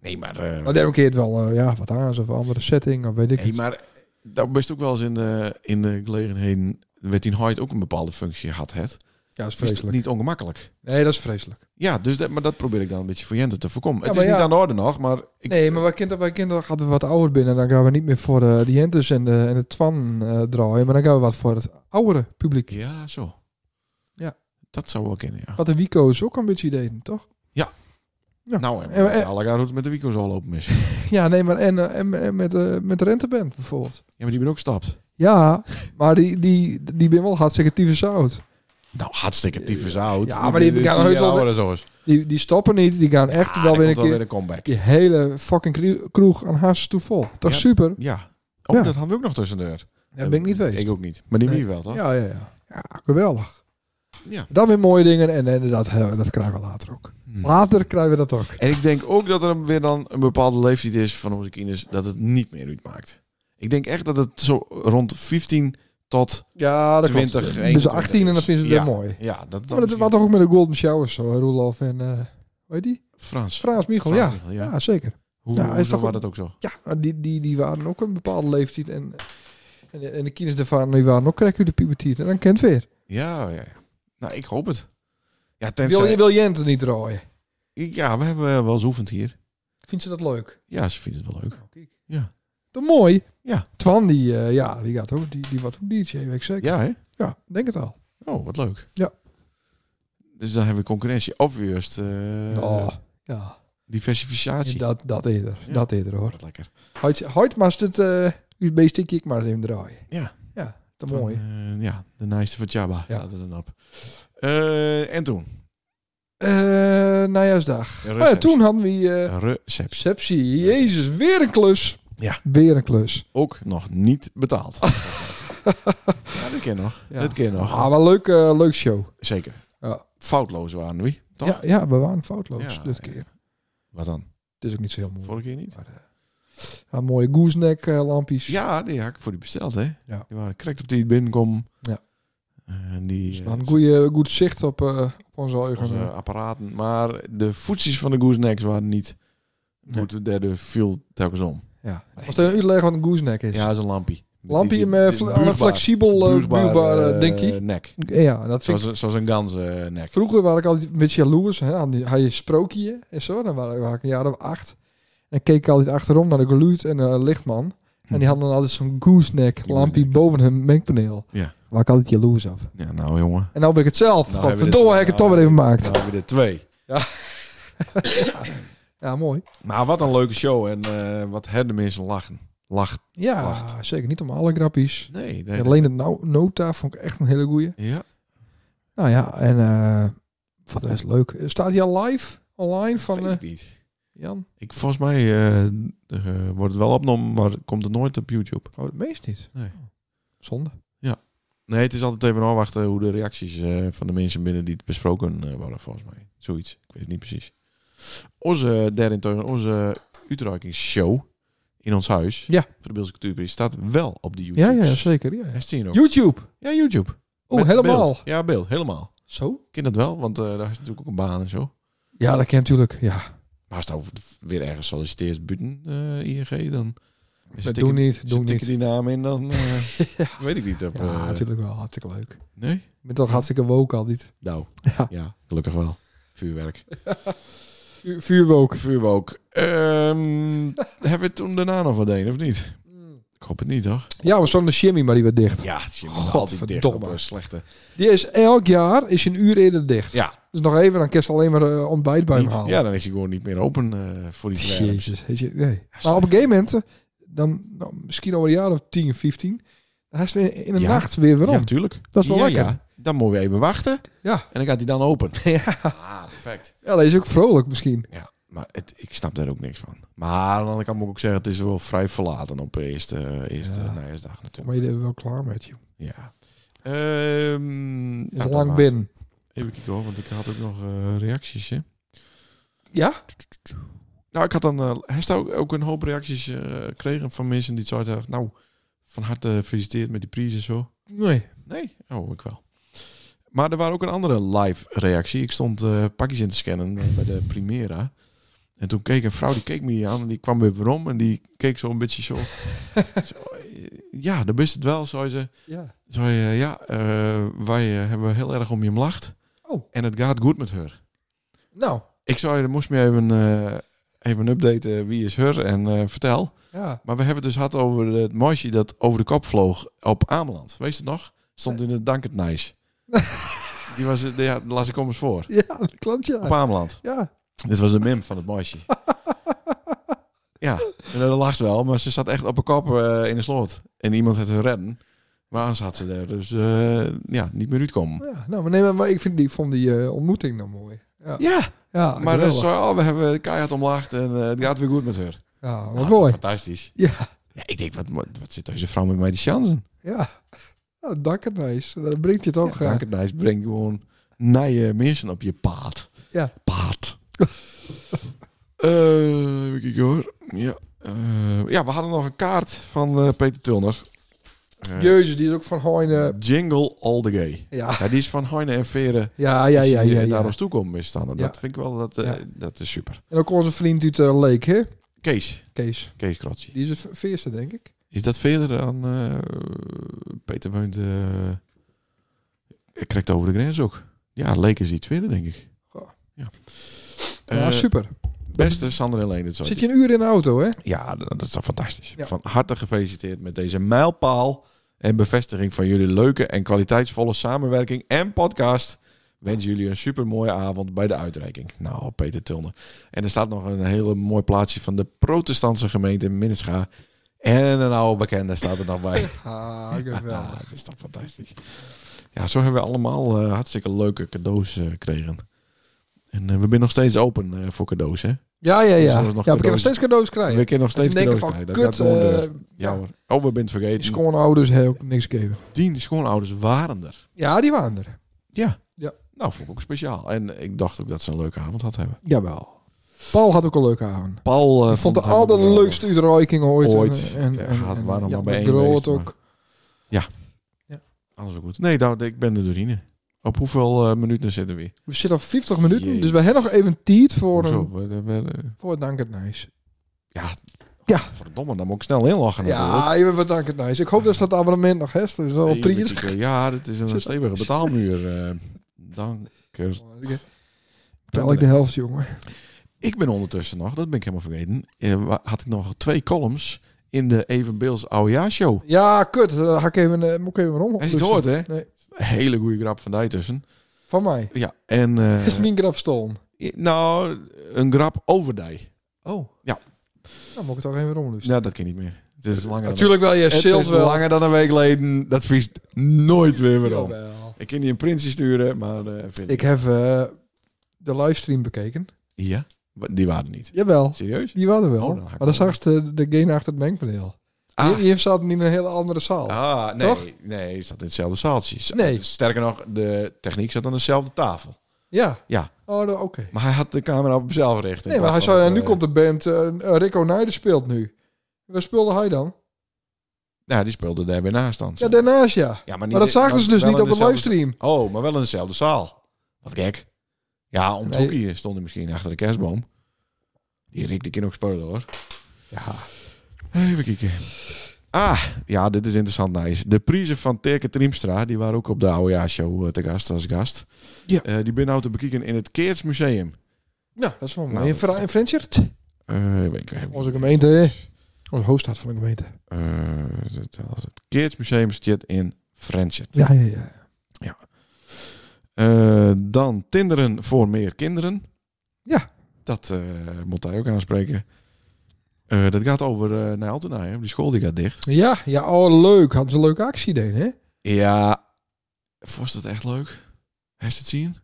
Nee, maar. eh
Maar daarom keer het wel, eh, ja, wat aan, of een andere setting, of weet ik
nee,
iets.
maar daar best ook wel eens in de, in de gelegenheden. werd die Hoyt ook een bepaalde functie had. Het
Ja, dat is
is het
vreselijk.
niet ongemakkelijk.
Nee, dat is vreselijk.
Ja, dus dat, maar dat probeer ik dan een beetje voor Jente te voorkomen. het is
maar
niet
ja.
aan de orde nog, maar ik,
Nee, maar wij kinderen, wij kinderen gaan we wat ouder binnen. Dan gaan we niet meer voor de, die Hentes en de, en de Twan eh, draaien. Maar dan gaan we wat voor het oudere publiek.
ja, zo.
Ja. Oh.
Dat zou wel kunnen, ja.
Wat de Wico's ook een beetje deden, toch? (laughs) ja.
Nou, en,
En-
met
en-
Allegaar hoe het met de Wico's al lopen is.
Ja, nee, maar en, eh, en, en met, eh, met de renteband bijvoorbeeld.
Ja, maar die ben ook stapt.
Ja, maar die, die, die ben wel hartstikke tyfus zout.
Nou, hartstikke tyfus oud.
Eh, Ja, maar die- die gaan heus wel
ouder zo.
Die, die stoppen niet, die gaan echt wel weer een keer...
een comeback.
Die hele fucking krie- kroeg aan haast toe vol. Toch
Ja.
super?
Ja. Oh,
Ja.
dat hadden we ook nog tussen de deur.
Daar ben ik niet geweest.
Ik ook niet. Maar die
Nee.
wie wel, toch?
Ja, ja, ja. Ja, geweldig.
Ja.
Dan weer mooie dingen en inderdaad, hè, eh, dat krijgen we later ook. Later krijgen we dat ook.
En ik denk ook dat er weer dan een bepaalde leeftijd is van onze kinders dat het niet meer uitmaakt. Ik denk echt dat het zo rond 15 tot
Ja, dat
20,
klopt.
21
Dus 18 en dan vinden ze het
Ja.
weer mooi.
ja, dat,
Maar dat was toch ook met de Golden Showers zo, hè, Roelof en... eh hoe heet die?
Frans.
Frans Michel,
Frans
ja.
Michel, ja.
ja. zeker.
Hoe
Ja,
ja,
is
is
toch
was
een-
dat ook zo?
Ja, maar die, die, die waren ook een bepaalde leeftijd. En, en, de- en de kinderen daarvan die waren ook krijg je de puberteit. En dan kent weer.
Ja, ja. ja. Nou, ik hoop het. Ja,
Wil,
tenzij,
je- wil Jente niet rooien?
ja, we hebben eh, wel eens oefend hier.
Vindt ze dat leuk?
Ja, ze vindt het wel leuk. Ja.
Toch mooi?
Ja.
Twan, die, eh, ja, die gaat ook. Die, die wat ook DJ, weet ik zeker. Ja.
Ja, hè?
denk het al.
Oh, wat leuk.
Ja.
Dus dan hebben we concurrentie. Of juist eh,
oh, ja.
diversificatie.
Dat, dat eerder.
Ja.
Dat eerder hoor.
Wat lekker.
Hoort maar het eh USB-stickje ik maar eens even draaien.
Ja.
Ja, te
Van,
mooi.
eh, ja, de naaiste van Jabba
Ja.
staat er dan op. Eh, en toen?
Eh najaarsdag.
Receptie.
Oh ja, toen hadden we eh
Receptie.
receptie. Jezus, weer een klus.
Ja.
Weer een klus.
Ook nog niet
(laughs)
betaald. ja, dat ken nog.
Ja.
Dat ken nog.
Ah, maar leuk, eh, leuk show.
Zeker.
Ja.
Foutloos waren we, toch?
Ja, ja, we waren foutloos
Ja,
dit
ja.
keer.
Wat dan?
Het is ook niet zo heel moeilijk.
Vorige keer niet?
Ja, mooie gooseneck eh, lampjes.
Ja, die had ik voor die besteld, hè?
Ja.
Die waren correct op die binnenkom.
Ja.
En die...
Dus we
eh,
hadden goede, goed zicht op, eh, op onze ogen.
onze apparaten. Maar de voetjes van de goosenecks waren niet
Nee.
goed. De derde viel telkens om.
ja. Als je uitleggen wat een gooseneck is. eh,
Ja, dat is een lampie.
Lampje
Die- die-
met
dit is
fle-
een
aan een
buurbaar-
flexibel eh,
buurbaar,
buurbaar
eh,
eh, denkje.
nek.
Ja, dat vind
Zoals,
ik.
zoals een gans eh, nek.
Vroeger was ik altijd een beetje jaloers. Hè, aan die, had je sprookje en zo. Dan was ik- was ik een jaar of acht. En keek ik altijd achterom naar de geluid en de lichtman. En die hadden dan altijd zo'n gooseneck lampje
Mhm. Gooseneck.
boven hun mengpaneel.
Ja.
Waar ik altijd jaloers op.
Ja, nou jongen.
En nou ben ik het zelf.
Nou,
Nou,
hebben we
Verdomme,
dit-
heb ik het
nou,
toch weer even
Nou
gemaakt.
hebben we er twee.
Ja, mooi.
Maar Nou, wat een leuke show. En eh, wat hebben de mensen lachen. Lacht.
Ja,
Wacht.
zeker niet om alle grappies.
Nee.
Ja,
nee.
alleen het nou- nota vond ik echt een hele goeie.
Ja.
Nou ja, en eh wat is leuk. Staat hij al live online van
Weet
eh,
ik niet.
Jan?
Ik, volgens mij eh, eh, wordt het wel opgenomen, maar komt het nooit op YouTube.
Oh, het meest niet.
Nee.
Zonde.
Nee, het is altijd even afwachten hoe de reacties eh, van de mensen binnen die het besproken eh, worden, volgens mij. Zoiets. Ik weet het niet precies. Onze, eh, daarentegen, onze uitreikingsshow in ons huis,
Ja.
voor de Beeldse Cultuurprijs, staat wel op de YouTube.
Ja, ja, zeker. Ja, ja.
Hij staat hier ook.
YouTube.
Ja, YouTube.
Oh,
Met
helemaal.
beeld. Ja, beeld. Helemaal.
Zo?
Ik ken dat wel, want eh, daar is natuurlijk ook een baan en zo.
Ja, dat kent natuurlijk. Ja.
Maar als het weer ergens solliciteert buiten eh ING, dan... is
Dat doen niet. Doen niet.
die naam in, dan eh,
(laughs)
weet ik niet. Of,
Ja,
eh,
natuurlijk wel. Hartstikke leuk. Ik
nee?
ben toch hartstikke woke altijd.
Nou,
Ja.
ja, gelukkig wel. Vuurwerk.
Vuur- Vuurwoke.
Vuurwook.
(laughs)
Ehm hebben we toen daarna nog wat een, of niet?
Mm.
Ik hoop het niet, toch?
Ja, we stonden de shimmy, maar die werd dicht.
Ja, je
altijd dicht
altijd dicht
op een
slechte...
Die is elk jaar is een uur eerder dicht.
Ja,
Dus nog even, dan kerst alleen maar eh, ontbijt bij hem
niet,
halen.
ja, dan is hij gewoon niet meer open eh, voor die verwerking.
Jezus, weet je, nee.
Ja,
Maar op een gegeven moment, eh, dan, nou, misschien over een jaar of 10, 15, dan is het in, in de
Ja.
nacht weer weer om.
Ja, tuurlijk.
Dat is wel
ja,
lekker.
ja. Dan moet je even wachten.
Ja.
En dan gaat hij dan open.
(laughs) Ja.
Ah, perfect.
Ja, dat is ook vrolijk misschien.
Ja, maar het, ik snap daar ook niks van. Maar aan de andere kant moet ik ook zeggen, het is wel vrij verlaten op eerste, eerste
Ja.
najaarsdag natuurlijk.
Maar je bent wel klaar met je.
Ja. Ehm,
Is
ja,
lang
maar-
binnen.
Even kijken hoor, want ik had ook nog eh, reacties, hè.
Ja?
Nou, ik had dan eh, hij staat ook, ook een hoop reacties eh, gekregen van mensen die zeiden, nou, van harte gefeliciteerd met die prijs en zo.
Nee.
Nee, oh, ik wel. Maar er waren ook een andere live reactie. Ik stond eh, pakjes in te scannen eh, bij de Primera. En toen keek een vrouw, die keek me niet aan. En die kwam weer weer om en die keek zo een beetje zo. zo, eh, ja, dat best het wel, zei ze.
Ja.
Zei, eh, ja, eh, wij eh, hebben heel erg om je lacht.
Oh.
En het gaat goed met haar.
Nou,
Ik zei, dan moest me even, eh, even updaten wie is haar en eh, vertel.
ja.
Maar we hebben het dus gehad over het mooisje dat over de kop vloog op Ameland. Weet je het nog? Stond in het Danketnijs.
(laughs)
Die was, het- ja, las ik om eens voor.
Ja, dat klopt,
Op
ja.
Ameland.
Ja.
Dit was de mem van het
(laughs)
mooisje. Ja, en dat lacht wel, maar ze zat echt op een kop eh, in de sloot. En iemand had haar redden. Maar anders had ze er dus eh, ja, niet meer uitkomen.
ja. Nou, maar, nee, maar- maar ik vind die, vond die eh, ontmoeting nou mooi. Ja,
Ja,
ja
maar
geweldig.
dus, oh, we hebben keihard omlaagd en eh, het gaat weer goed met haar.
Ja, wat
Nou,
mooi.
Fantastisch.
Ja.
Ja, ik denk, wat, wat wat zit deze vrouw met mij te chansen?
Ja. Nou, dank het nice. Dat brengt je toch...
Ja,
eh,
Dankendijs brengt gewoon nije mensen op je paard.
Ja. (laughs)
Paard. Eh, even kijken hoor. Ja. Eh, ja, we hadden nog een kaart van eh, Peter Tulner. Eh,
Jezus, die is ook van Heine.
Jingle All The Gay.
Ja,
Ja, eh, die is van Heine en Veren.
ja, Ah. ja,
Als je
ja.
hier
ja,
naar
ja.
ons toe komt is staan. Dat
Ja.
vind ik wel, dat, eh,
Ja.
dat is super.
En ook onze vriend uit eh, Leek, hè?
Kees,
Kees.
Kees Krotje.
Die is de v- veerste, denk ik.
Is dat verder dan eh, Peter Weunt? eh, ik krijg het over de grens ook. Ja, leek is iets verder, denk ik.
Goh.
Ja.
ja,
Eh,
super.
beste Sander en Leen.
Zit je een uur in de auto, hè?
Ja, dat dat is toch fantastisch.
Ja.
Van harte gefeliciteerd met deze mijlpaal en bevestiging van jullie leuke en kwaliteitsvolle samenwerking en podcast. Wens jullie een supermooie avond bij de uitreiking. Nou, Peter Tilner. En er staat nog een hele mooi plaatsje van de protestantse gemeente Minnescha. En een oude bekende staat er nog
(laughs)
bij.
Ah, (laughs)
Ja,
geweldig.
dat is toch fantastisch. Ja, zo hebben we allemaal eh, hartstikke leuke cadeaus eh, gekregen. En eh, we zijn nog steeds open eh, voor cadeaus, hè?
Ja, ja,
Zullen
ja.
we
Ja,
nog
we kunnen nog
cadeaus-
steeds cadeaus krijgen.
We kunnen nog steeds
Toen denk ik
cadeaus
van,
krijgen. Dat
kut,
gaat door de deur.
eh,
Ja hoor. Oh, we bent
die
vergeten.
schoonouders hebben ook niks gegeven.
Tien schoonouders waren er.
Ja, die waren er.
Ja.
Ja.
Nou, vond ik ook speciaal. En ik dacht ook dat ze een leuke avond had hebben.
Jawel. Paul had ook een leuke avond.
Paul eh,
Ik vond de
het helemaal geweldig.
allerleukste uitreiking ooit.
Ooit.
En, en,
Ja,
en,
het
en-
waren allemaal
ja,
bijeen
de Groot
geweest, maar-
ook.
Alles ook goed. Nee, nou, ik ben de doorheen. Op hoeveel eh, minuten zitten we? hier?
We zitten op 50 minuten,
Jezus.
dus we hebben nog even tijd voor,
Hoezo?
een,
We- we- eh, we-
voor het Dank het Nijs.
ja.
Ja.
Verdomme, dan moet ik snel inlachen natuurlijk.
Ja, even wat Dank het Nijs. Ik hoop dus dat ze dat abonnement nog heeft. Dus wel
Hey,
op prijs.
moet ik, eh, Ja, dit is een stevige betaalmuur. eh danker.
Tel ik de helft, jongen.
Ik ben ondertussen nog, dat ben ik helemaal vergeten, eh, wa- had ik nog twee columns in de Evenbeels Oudejaarshow.
Ja, kut. Dan ga ik even, eh, moet ik even om.
Als je het hoort, hè?
Nee.
Hele goede grap van daar tussen.
Van mij.
Ja, en... eh,
Is mijn grap stolen?
nou, een grap over die.
Oh.
Ja.
Dan moet ik het toch even om.
Nou, dat kan niet meer. Het is langer dan,
Natuurlijk wel, je
het
sales
is
wel.
langer dan een week geleden. Dat viest nooit weer weer om.
Jawel.
Ik kan die een printje sturen, maar... eh, vind
Ik heb eh, de livestream bekeken.
Ja? Wa- Die waren er niet.
Jawel.
Serieus?
Die waren er wel.
Oh, dan haak ik
maar dan
wel.
zag je degene achter het mengpaneel.
Ah.
Die, die zat niet in een hele andere zaal.
Ah, nee.
Toch?
Nee, het zat in hetzelfde zaaltje. Z-
Nee.
Sterker nog, de techniek zat aan dezelfde tafel.
Ja.
Ja.
Oh, dan- oké.
Maar hij had de camera op hemzelf gericht.
Nee, maar hij
zou
zei, en nu komt de band eh, eh, Rico Nijder speelt nu. Waar speelde hij dan?
Ja, Nou, die speelde daar weer naast dan.
Ja, daarnaast ja.
Ja, maar, niet-
Maar dat zagen ze dus
wel
niet
in
op de
dezelfde-
livestream.
Oh, maar wel in dezelfde zaal. Wat gek. Ja, om het
Nee.
hoekje stond hij misschien achter de kerstboom. Die Rick, die kan ook spelen hoor.
Ja.
Even kijken. Ah, ja, dit is interessant, nice. De prijzen van Terke Triemstra, die waren ook op de oudejaarsshow eh, te gast als gast.
Ja.
Eh, die ben nou te bekijken in het Keertsmuseum.
Ja, dat is wel
Nou,
mooi. En Fra- en Frenchert?
Eh, ik weet ik-
Onze gemeente, hè? Onze hoofdstad van de gemeente.
Eh, het- het Keertsmuseum zit in Friendship.
Ja, ja, ja.
Eh, dan Tinderen voor meer kinderen.
Ja.
Dat eh, moet hij ook aanspreken. Eh, dat gaat over eh naar Altena, hè? die school die gaat dicht.
Ja, ja, oh leuk. Hadden ze een leuke actie deden, hè?
Ja, vond je dat echt leuk? Heb je het
(laughs)
zien?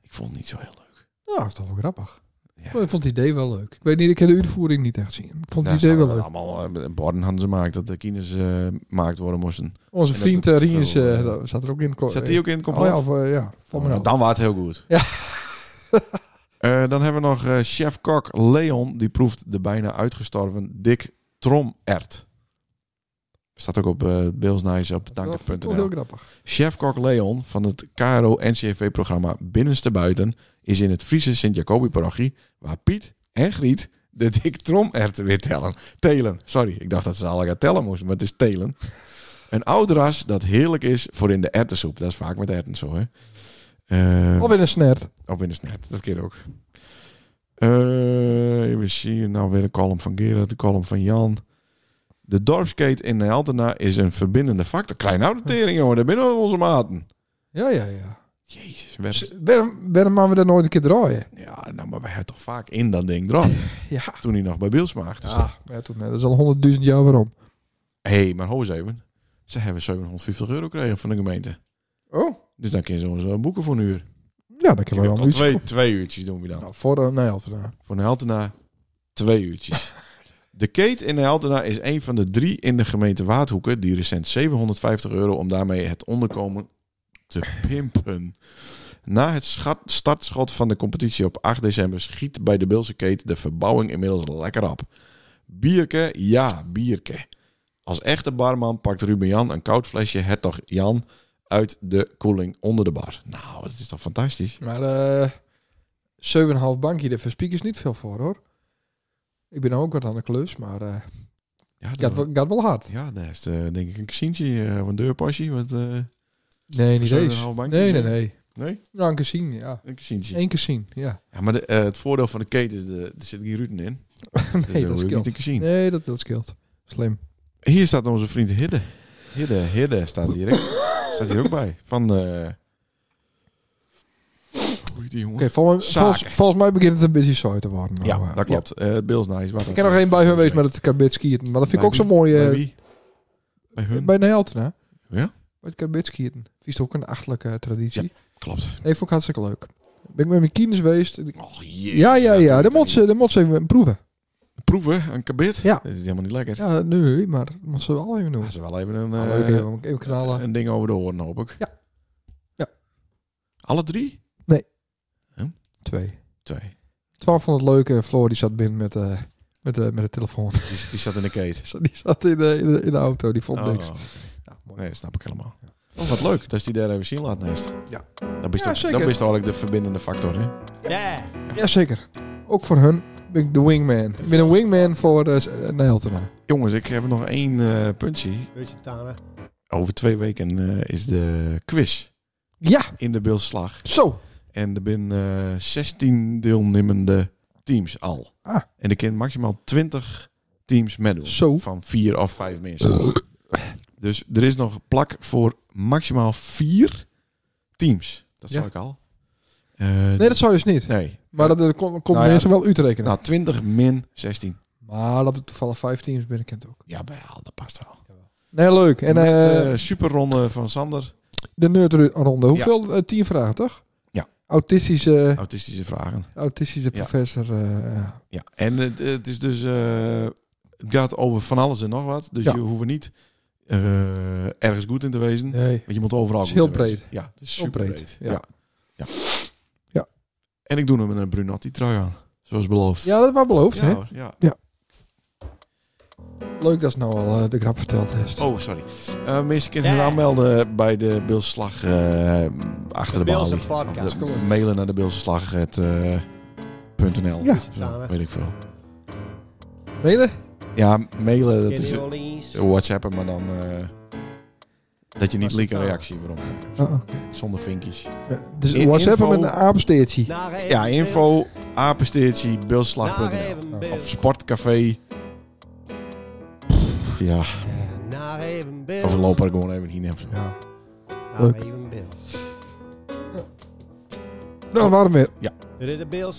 ik vond het niet zo heel leuk.
Nou, dat is toch wel grappig.
Ja.
Ik vond het idee wel leuk. Ik weet niet, ik heb de uitvoering niet echt zien. Ik vond het
Daar
idee wel
staan
leuk.
Allemaal eh, borden hadden ze gemaakt dat de kines eh gemaakt worden moesten.
Onze
En
vriend
dat
eh,
het
Riens
veel, eh,
eh, dat- zat er ook in. het ko-
Zat die ook in het
Oh
complot?
ja, of, eh, ja, van
Nou,
mij
dan was het heel goed.
(laughs) Ja.
Eh, dan hebben we nog eh, chef-kok Leon. Die proeft de bijna uitgestorven Dick Tromert. Staat ook op eh Beelsnice op
Dat vond ik
danker.nl.
heel grappig.
Chef-kok Leon van het KRO-NCV-programma Binnenste Buiten... is in het Friese Sint-Jacobi-parochie... waar Piet en Griet de Dick Tromert weer tellen. Telen, sorry. Ik dacht dat ze alle gaan tellen moesten, maar het is telen. Een oud ras dat heerlijk is voor in de erwtensoep. Dat is vaak met erwten zo, hè? Eh,
Of in een snert.
of in de snap, dat keer ook. Eh, even zien, nou weer de column van Gerard, de column van Jan. De dorpskate in Nijltena is een verbindende factor. Kleine outdatering, jongen, daar binnen onze maten.
Ja, ja, ja.
Jezus, werd...
Dus Waarom waarom maken we dat nooit een keer draaien?
Ja, nou, maar wij hebben toch vaak in dat ding draait.
(laughs) Ja.
Toen hij nog bij Beelsma achter zat.
Ja, ja, toen, eh, dat is al honderdduizend jaar waarom.
Hé, hey, maar ho eens even. Ze hebben 750 euro gekregen van de gemeente.
Oh,
Dus dan kun je zo'n zo'n boeken voor een uur.
ja, dat kunnen we wel
Al
een
twee,
uurtje.
twee uurtjes doen we dan.
Nou, voor de nee, altijd wel.
Voor Nijltena twee uurtjes. De Kate in Nijltena is een van de drie in de gemeente Waardhoeken... die recent 750 euro om daarmee het onderkomen te pimpen. Na het scha- startschot van de competitie op 8 december schiet bij de Bilse Kate de verbouwing inmiddels lekker op. Bierke, ja, bierke. Als echte barman pakt Ruben Jan een koud flesje Hertog Jan uit de koeling onder de bar. Nou, dat is toch fantastisch?
Maar eh 7,5 bankje, daar verspiek is niet veel voor hoor. Ik ben nou ook wat aan de klus, maar eh
Ja, dat
gaat, wel, gaat wel hard.
Ja, daar heeft eh, denk ik een kassientje eh, of een deurpasje. Want, eh,
Nee, niet
Zo'n
eens.
half bankje?
Nee, nee, nee.
nee,
Nou, een keer zien, ja.
een kassientje.
Eén keer zien, ja.
Ja, maar de, eh, het voordeel van de keten is, de, er zit geen ruten in.
(laughs)
Dus,
Nee,
hoef
dat
je niet
scheelt.
een casino.
Nee, dat, dat scheelt. Slim.
Hier staat onze vriend Hidde. Hidde, Hidde staat
(laughs)
hier, ook- staat hier ook bij. Van, eh hoe heet die jongen?
Oké, volgens,
Zaken.
volgens, volgens mij begint het een beetje saai te worden. Nou,
Ja,
eh,
dat klopt. Eh Bills Nice. waar
Ik
dat-
ken nog één bij hun wees met het kabitskieten. Maar dat vind ik
Bij
ook zo
wie?
mooi. eh,
Bij wie? Bij hun?
Bij Nijltena.
Ja?
Bij het kabitskieten. Vies ook een achterlijke eh, traditie.
Ja. Klopt.
Nee, vond ik hartstikke leuk. Ben ik met mijn kines geweest.
Oh, jezus,
Ja, ja,
dat
ja.
moet
Dan
toch
moet,
niet.
ze, dan moet ze even proeven.
Proeven, een kabit.
Ja.
Dat is helemaal niet lekker.
Ja, nee, maar dat moet ze wel even doen.
Ja, ze wel even een,
Ah,
eh,
leuk, even, even knallen.
een ding over de hoorn, hoop ik.
Ja. Ja.
Alle drie?
Twee.
Twee.
Twaalf vond het leuk en Floor die zat binnen met, eh met, de met de telefoon. (laughs)
Die, die zat in de keten.
die zat in de, in de, in de auto, die vond
Oh,
niks.
oké.
Ja, mooi.
Nee, dat snap ik helemaal. Oh, wat leuk dat je die daar even zien laat, Nest.
Ja.
Dat is
Ja,
toch-
zeker.
dat is toch eigenlijk de verbindende factor, hè?
Ja.
Jazeker. Ook voor hun ben ik de wingman. Ik ben een wingman voor uh, Nijltena.
Jongens, ik heb nog één eh, puntje.
Lusitana.
Over twee weken eh, is de quiz
Ja,
in de Beeldslag.
zo.
En er zijn eh 16 deelnemende teams al.
Ah.
En er kunnen maximaal 20 teams meedoen.
Zo.
Van vier of vijf mensen. dus er is nog plak voor maximaal vier teams. Dat
Ja.
zou ik al. Eh,
Nee, dat zou dus niet.
nee.
Maar dat, dat kon- komt
Nou ja,
mensen wel uitrekenen.
Nou, 20 min 16.
Maar dat het toevallig vijf teams binnenkent ook.
Ja, wel, dat past wel.
Nee, leuk.
En
En
Met,
eh,
eh, superronde van Sander.
de nerdronde. Hoeveel? eh, tien vragen, toch?
Ja.
Autistische,
Autistische vragen.
autistische
Ja.
professor. eh,
Ja, en het, het is dus. eh, het gaat over van alles en nog wat. Dus
Ja.
je hoeft er niet eh, ergens goed in te wezen.
nee.
Want je moet overal.
Het is
goed
heel
in
breed.
wezen. Ja, het is
Heel
super breed.
breed,
Ja.
ja.
Ja.
Ja.
En ik doe hem met een Brunotti trui aan. Zoals beloofd.
Ja, dat was beloofd,
ja,
hè?
hoor, ja.
Leuk dat ze nou al eh, de grap verteld heeft.
Oh, sorry. Eh mensen kunnen
Ja.
zich aanmelden bij de Bilslag eh achter de,
De Bilse
balie.
podcast.
De- mailen naar de eh, Bilseslag.nl.
Ja.
Weet ik veel.
Mailen?
Ja, mailen. Dat is,
Kenny Orleans.
WhatsAppen, maar dan eh, dat je niet
Als
leek een
het, eh,
reactie waarom.
Oh, oké.
Zonder vinkjes.
Ja, Dus
In-
WhatsApp
info-
met een apensteertje.
Naar even
Ja,
beeld.
info, apensteertje,
Naar
beeldslag.nl
even
Of
beeld.
of sportcafé. Ja,
Ja, Naar even beeld.
of we lopen er gewoon even heen en zo.
Ja.
Naar
Leuk.
even beeld.
Nou, waarom weer?
Dit is de beeld